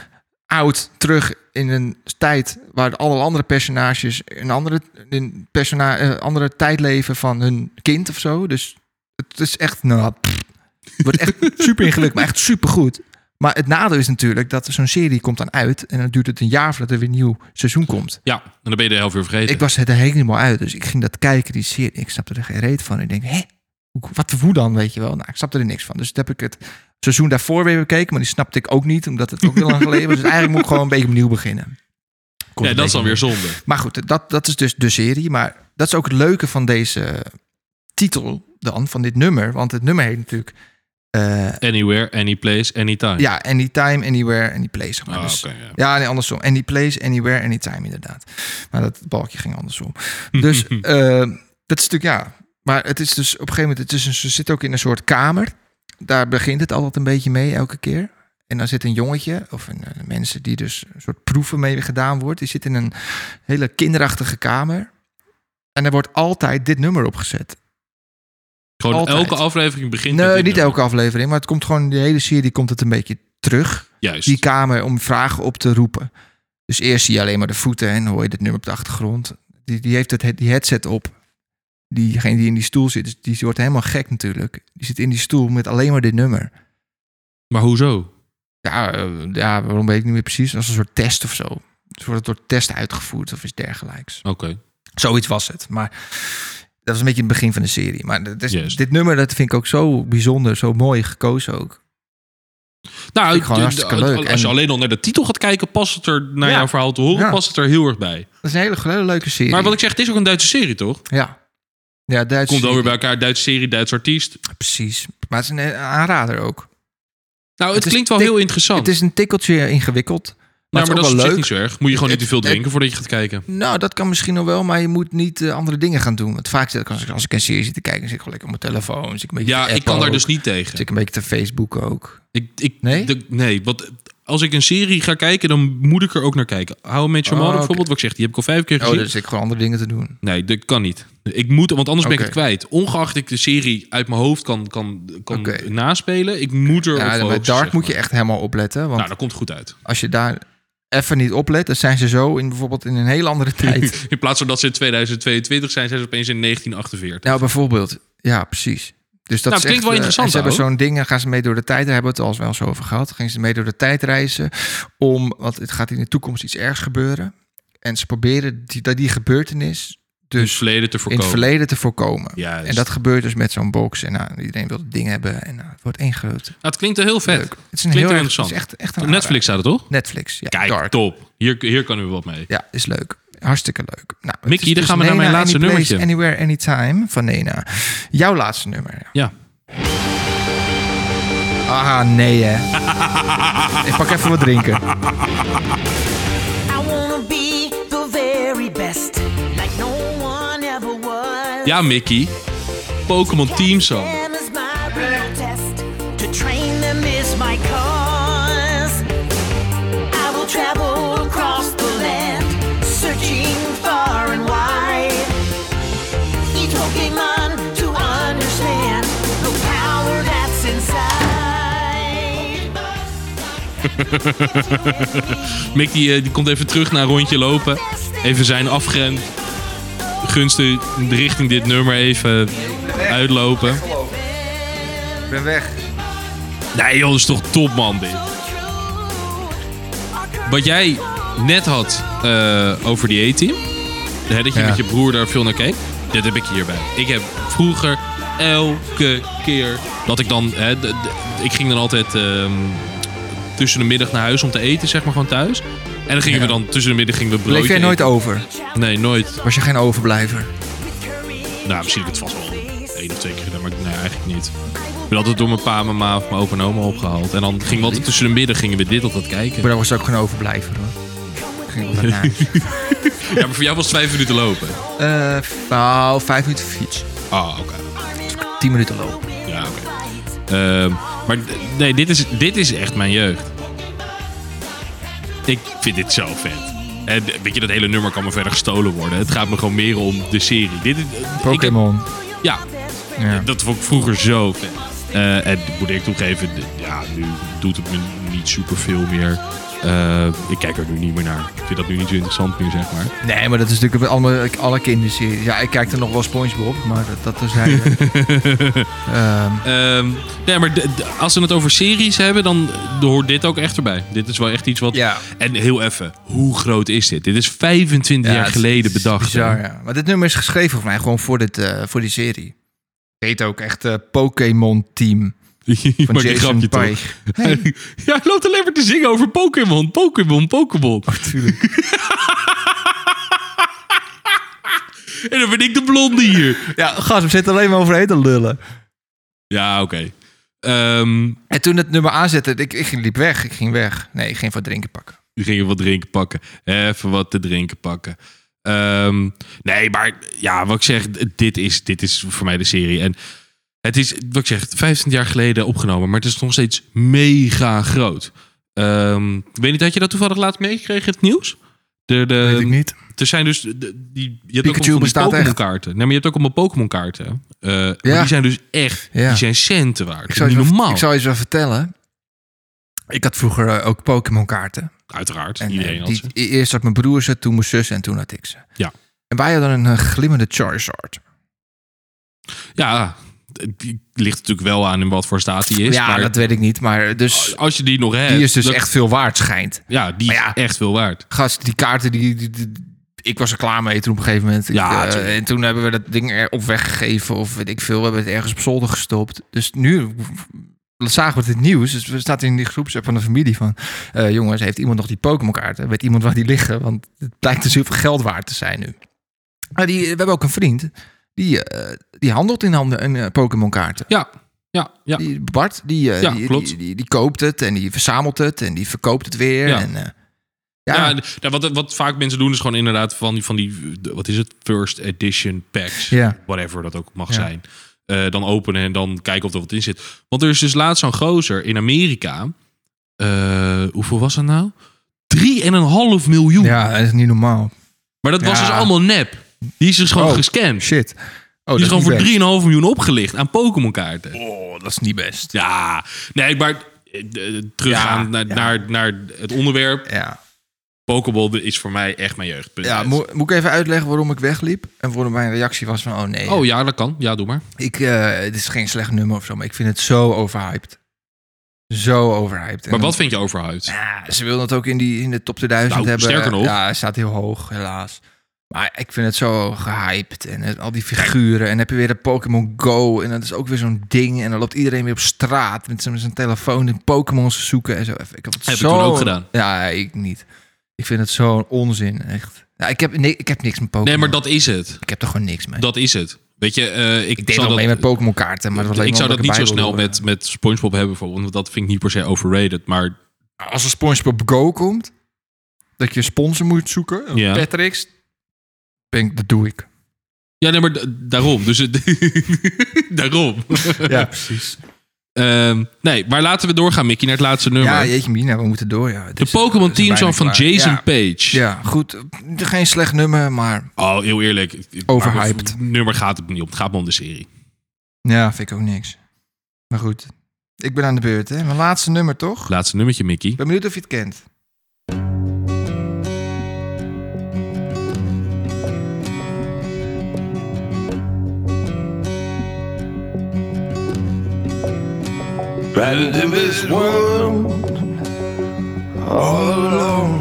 oud terug in een tijd waar alle andere personages een andere, in persona, eh, andere tijd leven van hun kind of zo. Dus het is echt, nou, pff, het wordt echt super ingelukt, maar echt super goed. Maar het nadeel is natuurlijk dat zo'n serie komt dan uit en dan duurt het een jaar voordat er weer een nieuw seizoen komt. Ja, en dan ben je de helft weer vergeten. Ik was het er helemaal uit. Dus ik ging dat kijken, die serie. Ik snapte er geen reet van. Ik denk, hè? Hoe- Wat, hoe dan, weet je wel? Nou, ik snapte er niks van. Dus toen heb ik het seizoen daarvoor weer bekeken. Maar die snapte ik ook niet, omdat het ook heel lang geleden was. Dus eigenlijk moet ik gewoon een beetje opnieuw beginnen. Kon ja, een dat is dan beetje weer zonde. maar goed, dat, dat is dus de serie. Maar dat is ook het leuke van deze titel dan, van dit nummer. Want het nummer heet natuurlijk... eh, Anywhere, anyplace, anytime. ja, Anytime, Anywhere, Anyplace. Zeg maar. Ah, Dus- oké, ja. ja, nee, andersom. Any place, anywhere, anytime inderdaad. Maar dat balkje ging andersom. Dus eh, dat is natuurlijk, ja. Maar het is dus op een gegeven moment, het is een, ze zit ook in een soort kamer. Daar begint het altijd een beetje mee, elke keer. En dan zit een jongetje, of een, eh, mensen die dus een soort proeven mee gedaan wordt. Die zit in een hele kinderachtige kamer. En er wordt altijd dit nummer opgezet. Gewoon altijd. elke aflevering begint met Nee, dit niet nummer. elke aflevering, maar het komt gewoon, de hele serie komt het een beetje terug. Juist. die kamer om vragen op te roepen. Dus eerst zie je alleen maar de voeten en hoor je dit nummer op de achtergrond. Die, die heeft het, he- die headset op. Diegene die in die stoel zit, dus die wordt helemaal gek natuurlijk. Die zit in die stoel met alleen maar dit nummer. Maar hoezo? Ja, eh, ja waarom weet ik niet meer precies. Als een soort test of zo. Dus wordt het door test uitgevoerd of iets dergelijks. Oké. Nou, Zoiets was het. Maar dat was een beetje het begin van de serie. Maar dat is- Juist. dit nummer dat vind ik ook zo bijzonder, zo mooi gekozen ook. Nou, ik gewoon d- d- hartstikke leuk. Als je En- alleen al naar de titel gaat kijken, past het er naar Ja. jouw verhaal te horen, Ja. past het er heel erg bij. Dat is een hele, hele leuke serie. Maar wat ik zeg, het is ook een Duitse serie, toch? Ja. Ja, Duits. Komt dan weer bij elkaar, Duitse serie, Duits artiest. Precies. Maar het is een eh, aanrader ook. Nou, het, is klinkt wel tik- heel interessant. Het is een tikkeltje ingewikkeld. Maar, nou, het maar dat is ook is op wel zich leuk. niet zo erg. Moet je gewoon niet te veel Het- het- drinken voordat je gaat kijken. Nou, dat kan misschien nog wel, maar je moet niet eh, andere dingen gaan doen. Want vaak zit ik, als ik, als ik een serie zit te kijken, zit ik gewoon lekker op mijn telefoon. Zit ik een beetje Ja, te ik appen kan daar ook. dus niet tegen. Zit ik een beetje te Facebook ook. Ik, ik, Nee? de- nee, want als ik een serie ga kijken, dan moet ik er ook naar kijken. Hou met je Oh, man oké. bijvoorbeeld, wat ik zeg, die heb ik al vijf keer Oh, gezien. dan zit ik gewoon andere dingen te doen. Nee, dat kan niet. Ik moet, want anders ben ik Oké. het kwijt. Ongeacht ik de serie uit mijn hoofd kan, kan, kan Oké. naspelen, ik moet er op Ja, bij focussen, Dark zeg moet je maar. echt helemaal opletten. Want Nou, dat komt goed uit. als je daar even niet oplet, dan zijn ze zo in bijvoorbeeld in een hele andere tijd. In plaats van dat ze in 2022 zijn, zijn ze opeens in 1948. nou, bijvoorbeeld. Ja, precies. Dus dat Nou, is klinkt echt, wel eh, interessant Ze hebben ook. zo'n ding, dan gaan ze mee door de tijd. Daar hebben we het al eens wel eens over gehad. Gingen ze mee door de tijd reizen. Om, want het gaat in de toekomst iets ergs gebeuren. En ze proberen die, dat die gebeurtenis in het dus verleden te in voorkomen. het verleden te voorkomen. Juist. En dat gebeurt dus met zo'n box. En nou, iedereen wil het ding hebben. En nou, het wordt één groot. Nou, het klinkt wel heel vet. Leuk. Het is een Klinkt heel heel erg- interessant. het is echt- echt een Op Netflix staat het toch? aanrader. Netflix, ja. Kijk, dark. top. Hier, hier kan u wat mee. Ja, is leuk. Hartstikke leuk. Nou, het Mickey, is dan dus gaan we naar Nena, mijn laatste Any Place, nummertje. Anywhere, Anytime van Nena. Jouw laatste nummer. ja. Ja. Ah, nee hè. Ik pak even wat drinken. I wanna be the very best, like no one ever was. Ja, Mickey. Pokémon Team Song. Them is my real test. To train them is my cause. I will travel across the land, searching far and wide. Each Pokemon to understand the power that's inside. Mick die, eh, die komt even terug naar een rondje lopen. Even zijn afgrens. Gunsten richting dit nummer even uitlopen. Ik ben weg. Nee joh, dat is toch top man dit. Wat jij net had eh, over die A-team. hè, Dat je Ja. met je broer daar veel naar keek. Dat heb ik hierbij. Ik heb vroeger elke keer dat ik dan... Hè, d- d- ik ging dan altijd ehm, tussen de middag naar huis om te eten, zeg maar gewoon thuis. En dan gingen we dan tussen de middag gingen we broodje Bleef jij nooit eten. over? Nee, nooit. Was je geen overblijver? Nou, misschien heb ik het vast wel één of twee keer gedaan, maar nee, eigenlijk niet. Ik ben altijd door mijn pa, mijn ma of mijn opa en oma opgehaald. En dan gingen we altijd tussen de middag gingen we dit altijd kijken. Ik ben overigens ook geen overblijver hoor. Ik Ging wel naar huis. Ja, maar voor jou was het vijf minuten lopen. Eh, nou, vijf minuten fiets. Ah, oké. Tien minuten lopen. Ja, oké. Ehm, maar d- nee, dit is, dit is echt mijn jeugd. Ik vind dit zo vet. En weet je, dat hele nummer kan me verder gestolen worden. Het gaat me gewoon meer om de serie. Dit is, eh, ik- Pokémon. Ja, Ja. dat vond ik vroeger zo vet. Eh, en moet ik toegeven, d- ja, nu doet het me niet superveel meer. Eh, ik kijk er nu niet meer naar. Ik vind dat nu niet zo interessant meer, zeg maar. Nee, maar dat is natuurlijk alle, alle kinderseries. Ja, ik kijk er nog wel SpongeBob, maar dat, dat is hij. Ehm, Ehm, nee, maar d- d- als ze het over series hebben, dan eh, hoort dit ook echt erbij. Dit is wel echt iets wat... Ja. En heel even, hoe groot is dit? Dit is 25 ja, jaar het- geleden het is bedacht. bizar, hè? ja. Maar dit nummer is geschreven voor mij gewoon voor, dit, eh, voor die serie. Heet ook echt eh, Pokémon Team Je van maakt een Jason grapje, toch? Pike. Ja, hij loopt alleen maar te zingen over Pokémon, Pokémon, Pokémon. Oh, en dan ben ik de blonde hier. Ja, gast, we zitten alleen maar overheen te lullen. Ja, oké. Ehm, En toen het nummer aanzette, ik, ik liep weg. Ik ging weg. Nee, ik ging wat drinken pakken. Nu ging je wat drinken pakken. Even wat te drinken pakken. Ehm, nee, maar ja, wat ik zeg, d- dit is, dit is voor mij de serie. En het is, wat ik zeg, 15 jaar geleden opgenomen, maar het is nog steeds mega groot. Ehm, ik weet niet, had je dat toevallig laatst meegekregen in het nieuws? De, de, Weet ik niet. Er zijn dus, de- de- die, je hebt Pikachu ook allemaal bestaat echt. Pokémon kaarten. Nee, maar je hebt ook allemaal Pokémon kaarten. Eh, maar die zijn dus echt, Ja. die zijn centen waard. Ik zou, Niet je wel, normaal. ik zou je zo vertellen. Ik had vroeger eh, ook Pokémon kaarten. Uiteraard, En, iedereen eh, had die, ze. Eerst had mijn broer ze, toen mijn zus en toen had ik ze. Ja. En wij hadden een eh, glimmende Charizard. Ja, het ligt natuurlijk wel aan in wat voor staat die is. ja, maar dat weet ik niet. Maar dus, als je die nog hebt... die is dus Eh, dat- echt veel waard schijnt. Ja, die Maar ja. is echt veel waard. Gast, die kaarten, die, die- die- ik was er klaar mee toen op een gegeven moment. Ik, Ja, eh, tuurlijk. en toen hebben we dat ding er op weggegeven of weet ik veel. We hebben het ergens op zolder gestopt. Dus nu zagen we het nieuws. Dus we staan in die groepsapp van de familie van... eh, jongens, heeft iemand nog die Pokémon kaarten? Weet iemand waar die liggen? Want het blijkt dus heel veel geld waard te zijn nu. Maar die, we hebben ook een vriend. Die, eh, die handelt in handen in eh, Pokémon kaarten. Ja, ja, ja. Die Bart, die, eh, Ja, die, klopt. die, die, die koopt het en die verzamelt het en die verkoopt het weer. Ja. En, eh, ja. nou, wat, wat vaak mensen doen is gewoon inderdaad van die, van die de- wat is het, first edition packs. Ja. Whatever dat ook mag Ja. zijn. Eh, dan openen en dan kijken of er wat in zit. Want er is dus laatst zo'n gozer in Amerika. eh, hoeveel was dat nou? 3,5 miljoen. Ja, dat is niet normaal. Maar dat was Ja. dus allemaal nep. Die is dus gewoon Oh, gescamd. Shit. Oh, die is gewoon voor niet 3,5 best. miljoen opgelicht aan Pokémon kaarten. Oh, dat is niet best. Ja, nee, maar eh, eh, teruggaan Ja, naar, ja. Naar, naar het onderwerp. Ja. Pokéball is voor mij echt mijn jeugd. Punt Ja, uit. mo- moet ik even uitleggen waarom ik wegliep? En waarom mijn reactie was van, oh nee. Oh ja, dat kan. Ja, doe maar. Ik, eh, het is geen slecht nummer of zo, maar ik vind het zo overhyped. Zo overhyped. En Maar dan- wat vind je overhuid? Ja, ze wilden het ook in, die, in de top 2000 Nou, hebben. sterker nog. Ja, hij staat heel hoog, helaas. Maar ik vind het zo gehyped. En het- al die figuren. En dan heb je weer de Pokémon Go. En dat is ook weer zo'n ding. En dan loopt iedereen weer op straat met zijn, met zijn telefoon in Pokémon's te zoeken. En zo. Ik heb, het Heb ik zo... toen ook gedaan. Ja, ik niet. Ik vind het zo'n onzin, echt. Ja, ik, heb, ni- ik heb niks met Pokémon. Nee, maar dat is het. Ik heb er gewoon niks mee. Dat is het. Weet je, eh, ik, ik deed zou wel dat, mee met Pokémon kaarten. Maar dat was alleen ik zou maar dat niet omdat zo ik erbij snel wilde met, met SpongeBob hebben bijvoorbeeld. Want dat vind ik niet per se overrated. Maar horen. Als er SpongeBob Go komt, dat je een sponsor moet zoeken. Ja. Patrick's. Ben ik, dat doe ik. ja, nee, maar d- daarom. Dus het, daarom. Ja, precies. Ehm, nee, maar laten we doorgaan, Mickey, naar het laatste nummer. Ja, jeetje mina, we moeten door. Ja. de Pokémon Team Song van Jason ja. Page. Ja, goed. Geen slecht nummer, maar Oh, heel eerlijk. Overhyped. maar het nummer gaat het niet om. Het gaat me om de serie. ja, vind ik ook niks. Maar goed, ik ben aan de beurt. Hè. Mijn laatste nummer, toch? Ik Laatste nummertje, Mickey. ben benieuwd of je het kent. in this world all alone.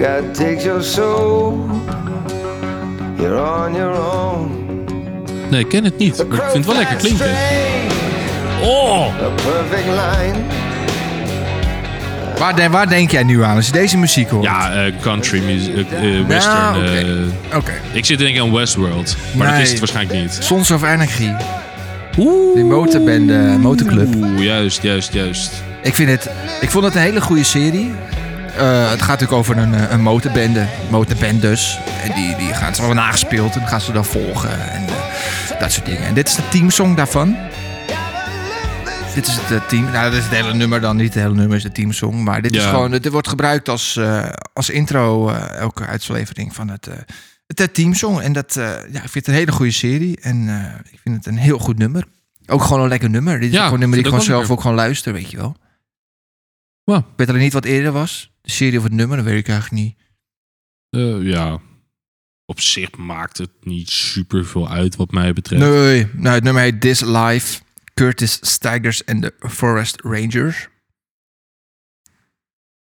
God takes your soul, you're on your own. Nee, ik ken het niet. Maar ik vind het wel lekker klinken. Oh! A perfect line. Waar, de- waar denk jij nu aan als je deze muziek hoort? Ja, eh, country music, eh, eh, western. Ja, oké. eh, Oké. ik zit denk ik aan Westworld. Maar dat Nee. is het waarschijnlijk niet. Sons of Anarchy. Oeh. Die motorbende, motorclub. Oeh, juist, juist, juist. Ik, vind het, ik vond het een hele goede serie. Eh, het gaat natuurlijk over een, eh, een motorbende. Motorbendes. En die, die gaan ze worden nagespeeld en gaan ze dan volgen. En eh, dat soort dingen. En dit is de teamsong daarvan. Dit is het eh, team. Nou, dit is het hele nummer dan. Niet het hele nummer is de teamsong. Maar dit is Ja. gewoon. Dit wordt gebruikt als, eh, als intro. eh, elke uitlevering van het. eh het eh, teamsong. En dat. eh, ja, ik vind het een hele goede serie. En eh, ik vind het een heel goed nummer. Ook gewoon een lekker nummer. Dit is Ja, gewoon een nummer die vind ik ik gewoon ook zelf wel lekker. ook gewoon luister, weet je wel. Wow. Ik weet alleen niet wat eerder was. De serie of het nummer, dat weet ik eigenlijk niet. Eh, ja. Op zich maakt het niet super veel uit wat mij betreft. Nee, nou, het nummer heet This Life. Curtis Stigers en de Forest Rangers.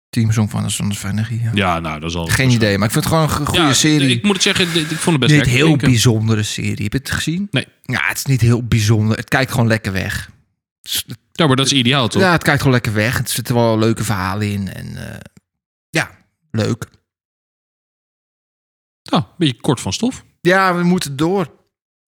Teamsong van de Sons of Energy, ja. Ja, nou, dat is al. Geen idee, maar ik vind het gewoon een go- goede Ja, serie. Ik moet het zeggen, dit- ik vond het best niet lekker heel klinken. bijzondere serie. Heb je het gezien? Nee. Ja, het is niet heel bijzonder. Het kijkt gewoon lekker weg. Het is- Ja, maar dat is ideaal toch? Ja, het kijkt gewoon lekker weg. Het zitten wel leuke verhalen in. En eh, ja, leuk. Nou, een beetje kort van stof. Ja, we moeten door.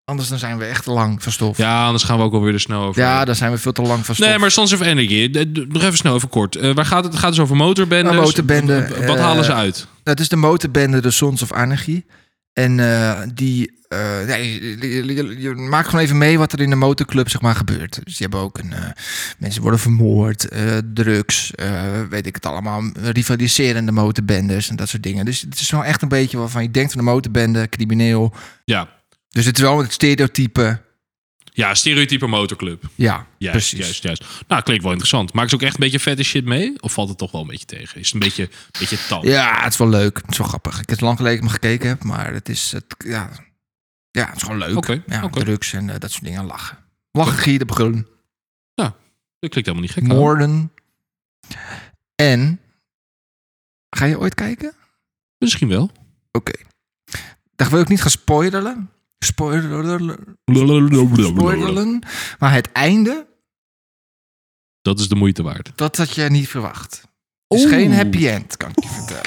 Anders dan zijn we echt te lang van stof. Ja, Ja, anders gaan we ook alweer er snel over. dan zijn we veel te lang van stof. Nee, maar Sons of Energy. d- d- Nog even snel, even kort. Eh, waar gaat het? Het gaat dus over motorbenders. Nou, motorbenden, W- w- Wat eh, halen ze uit? Dat is de motorbende de Sons of Anarchy. En eh, die... eh, nee, je, je- je maakt gewoon even mee wat er in de motorclub zeg maar, gebeurt. Dus die hebben ook een... eh, mensen worden vermoord, eh, drugs, eh, weet ik het allemaal. Rivaliserende motorbendes en dat soort dingen. Dus het is wel echt een beetje waarvan je denkt van de motorbende, crimineel. Ja. Dus het is wel het stereotype. Ja, stereotype motorclub. Ja, Juist, precies. juist, juist. Nou, klinkt wel interessant. Maakt ze ook echt een beetje vette shit mee? Of valt het toch wel een beetje tegen? Is het een beetje, een beetje tam? Ja, het is wel leuk. Het is wel grappig. Ik heb het lang geleden dat ik hem gekeken heb, maar het is, het, ja, ja, het is gewoon leuk. Oké, ja, oké. Drugs en eh, dat soort dingen. Lachen. Lachen, gieren, brullen. Dat klinkt helemaal niet gek. aan. Moorden. En, ga je ooit kijken? Misschien wel. Oké. Daar wil ik niet gaan spoileren. Spoileren. Spoileren. Maar het einde, Dat is de moeite waard. dat had je niet verwacht. Het is Oeh. geen happy end, kan ik je vertellen.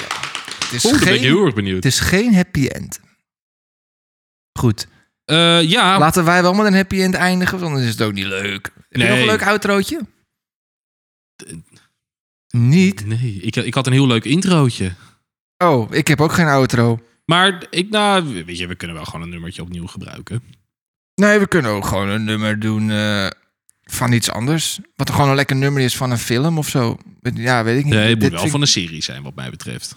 Het is, Oeh, daar ben ik geen, heel erg benieuwd. het is geen happy end. Goed. Eh, ja, Laten wij wel met een happy end eindigen, want dan is het ook niet leuk. Heb je nog Nee. een leuk outrootje? Niet? nee. Ik, ik had een heel leuk introotje. Oh, ik heb ook geen outro. Maar ik, nou, weet je, we kunnen wel gewoon een nummertje opnieuw gebruiken. Nee, we kunnen ook gewoon een nummer doen eh, van iets anders. Wat er gewoon een lekker nummer is van een film of zo. Ja, weet ik niet. Nee, het moet Dit wel vind van ik- een serie zijn, wat mij betreft.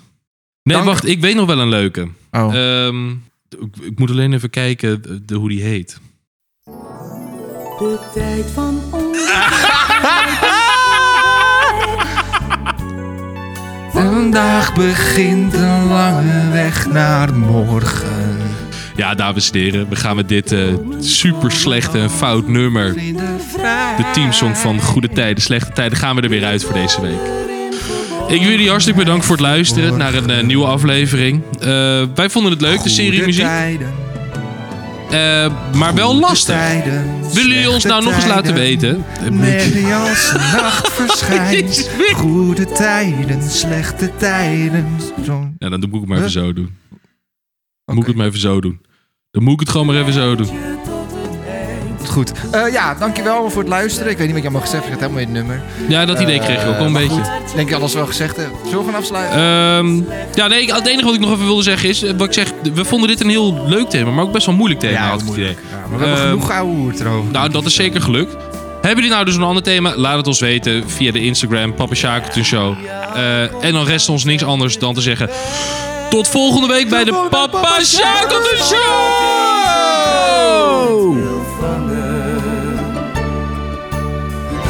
Nee, Dank. wacht, ik weet nog wel een leuke. Oh. Ehm, ik, ik moet alleen even kijken de, de- hoe die heet. De tijd van ons. Vandaag begint een lange weg naar morgen. Ja, dames en heren, we gaan met dit eh, super slechte en fout nummer. De teamsong van Goede Tijden, Slechte Tijden gaan we er weer uit voor deze week. Ik wil jullie hartstikke bedanken voor het luisteren naar een eh, nieuwe aflevering. Eh, wij vonden het leuk, de serie Goede muziek. tijden, eh, maar wel lastig. tijden, Willen jullie ons slechte nou nog eens laten tijden. weten? Merry als de nacht verschijnt. Goede tijden, slechte tijden. Zo'n- Ja, dan moet ik het maar even zo doen. Moet Oké. ik het maar even zo doen. Dan moet ik het gewoon maar even zo doen. Goed. Eh, ja, dankjewel voor het luisteren. Ik weet niet wat je allemaal gezegd hebt. Ik had helemaal je nummer. Ja, dat idee kreeg ik ook al een maar beetje. goed, denk ik alles wel gezegd heb. Zullen we gaan afsluiten? Ehm, ja, nee, ik- het enige wat ik nog even wilde zeggen is... eh, Wat ik zeg, we vonden dit een heel leuk thema, maar ook best wel een moeilijk thema, ja, had ik het moeilijk. idee. Ja, maar we hebben Ehm, genoeg oude hoer erover. Nou, dat is zeker gelukt. Hebben jullie nou dus een ander thema? Laat het ons weten via de Instagram, Papa Shakerton Show. Eh, en dan rest ons niks anders dan te zeggen... Tot volgende week bij de Papa Shakerton Show!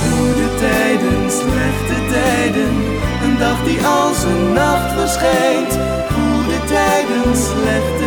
Goede tijden, slechte tijden. Een dag die als een nacht verschijnt. Goede tijden, slechte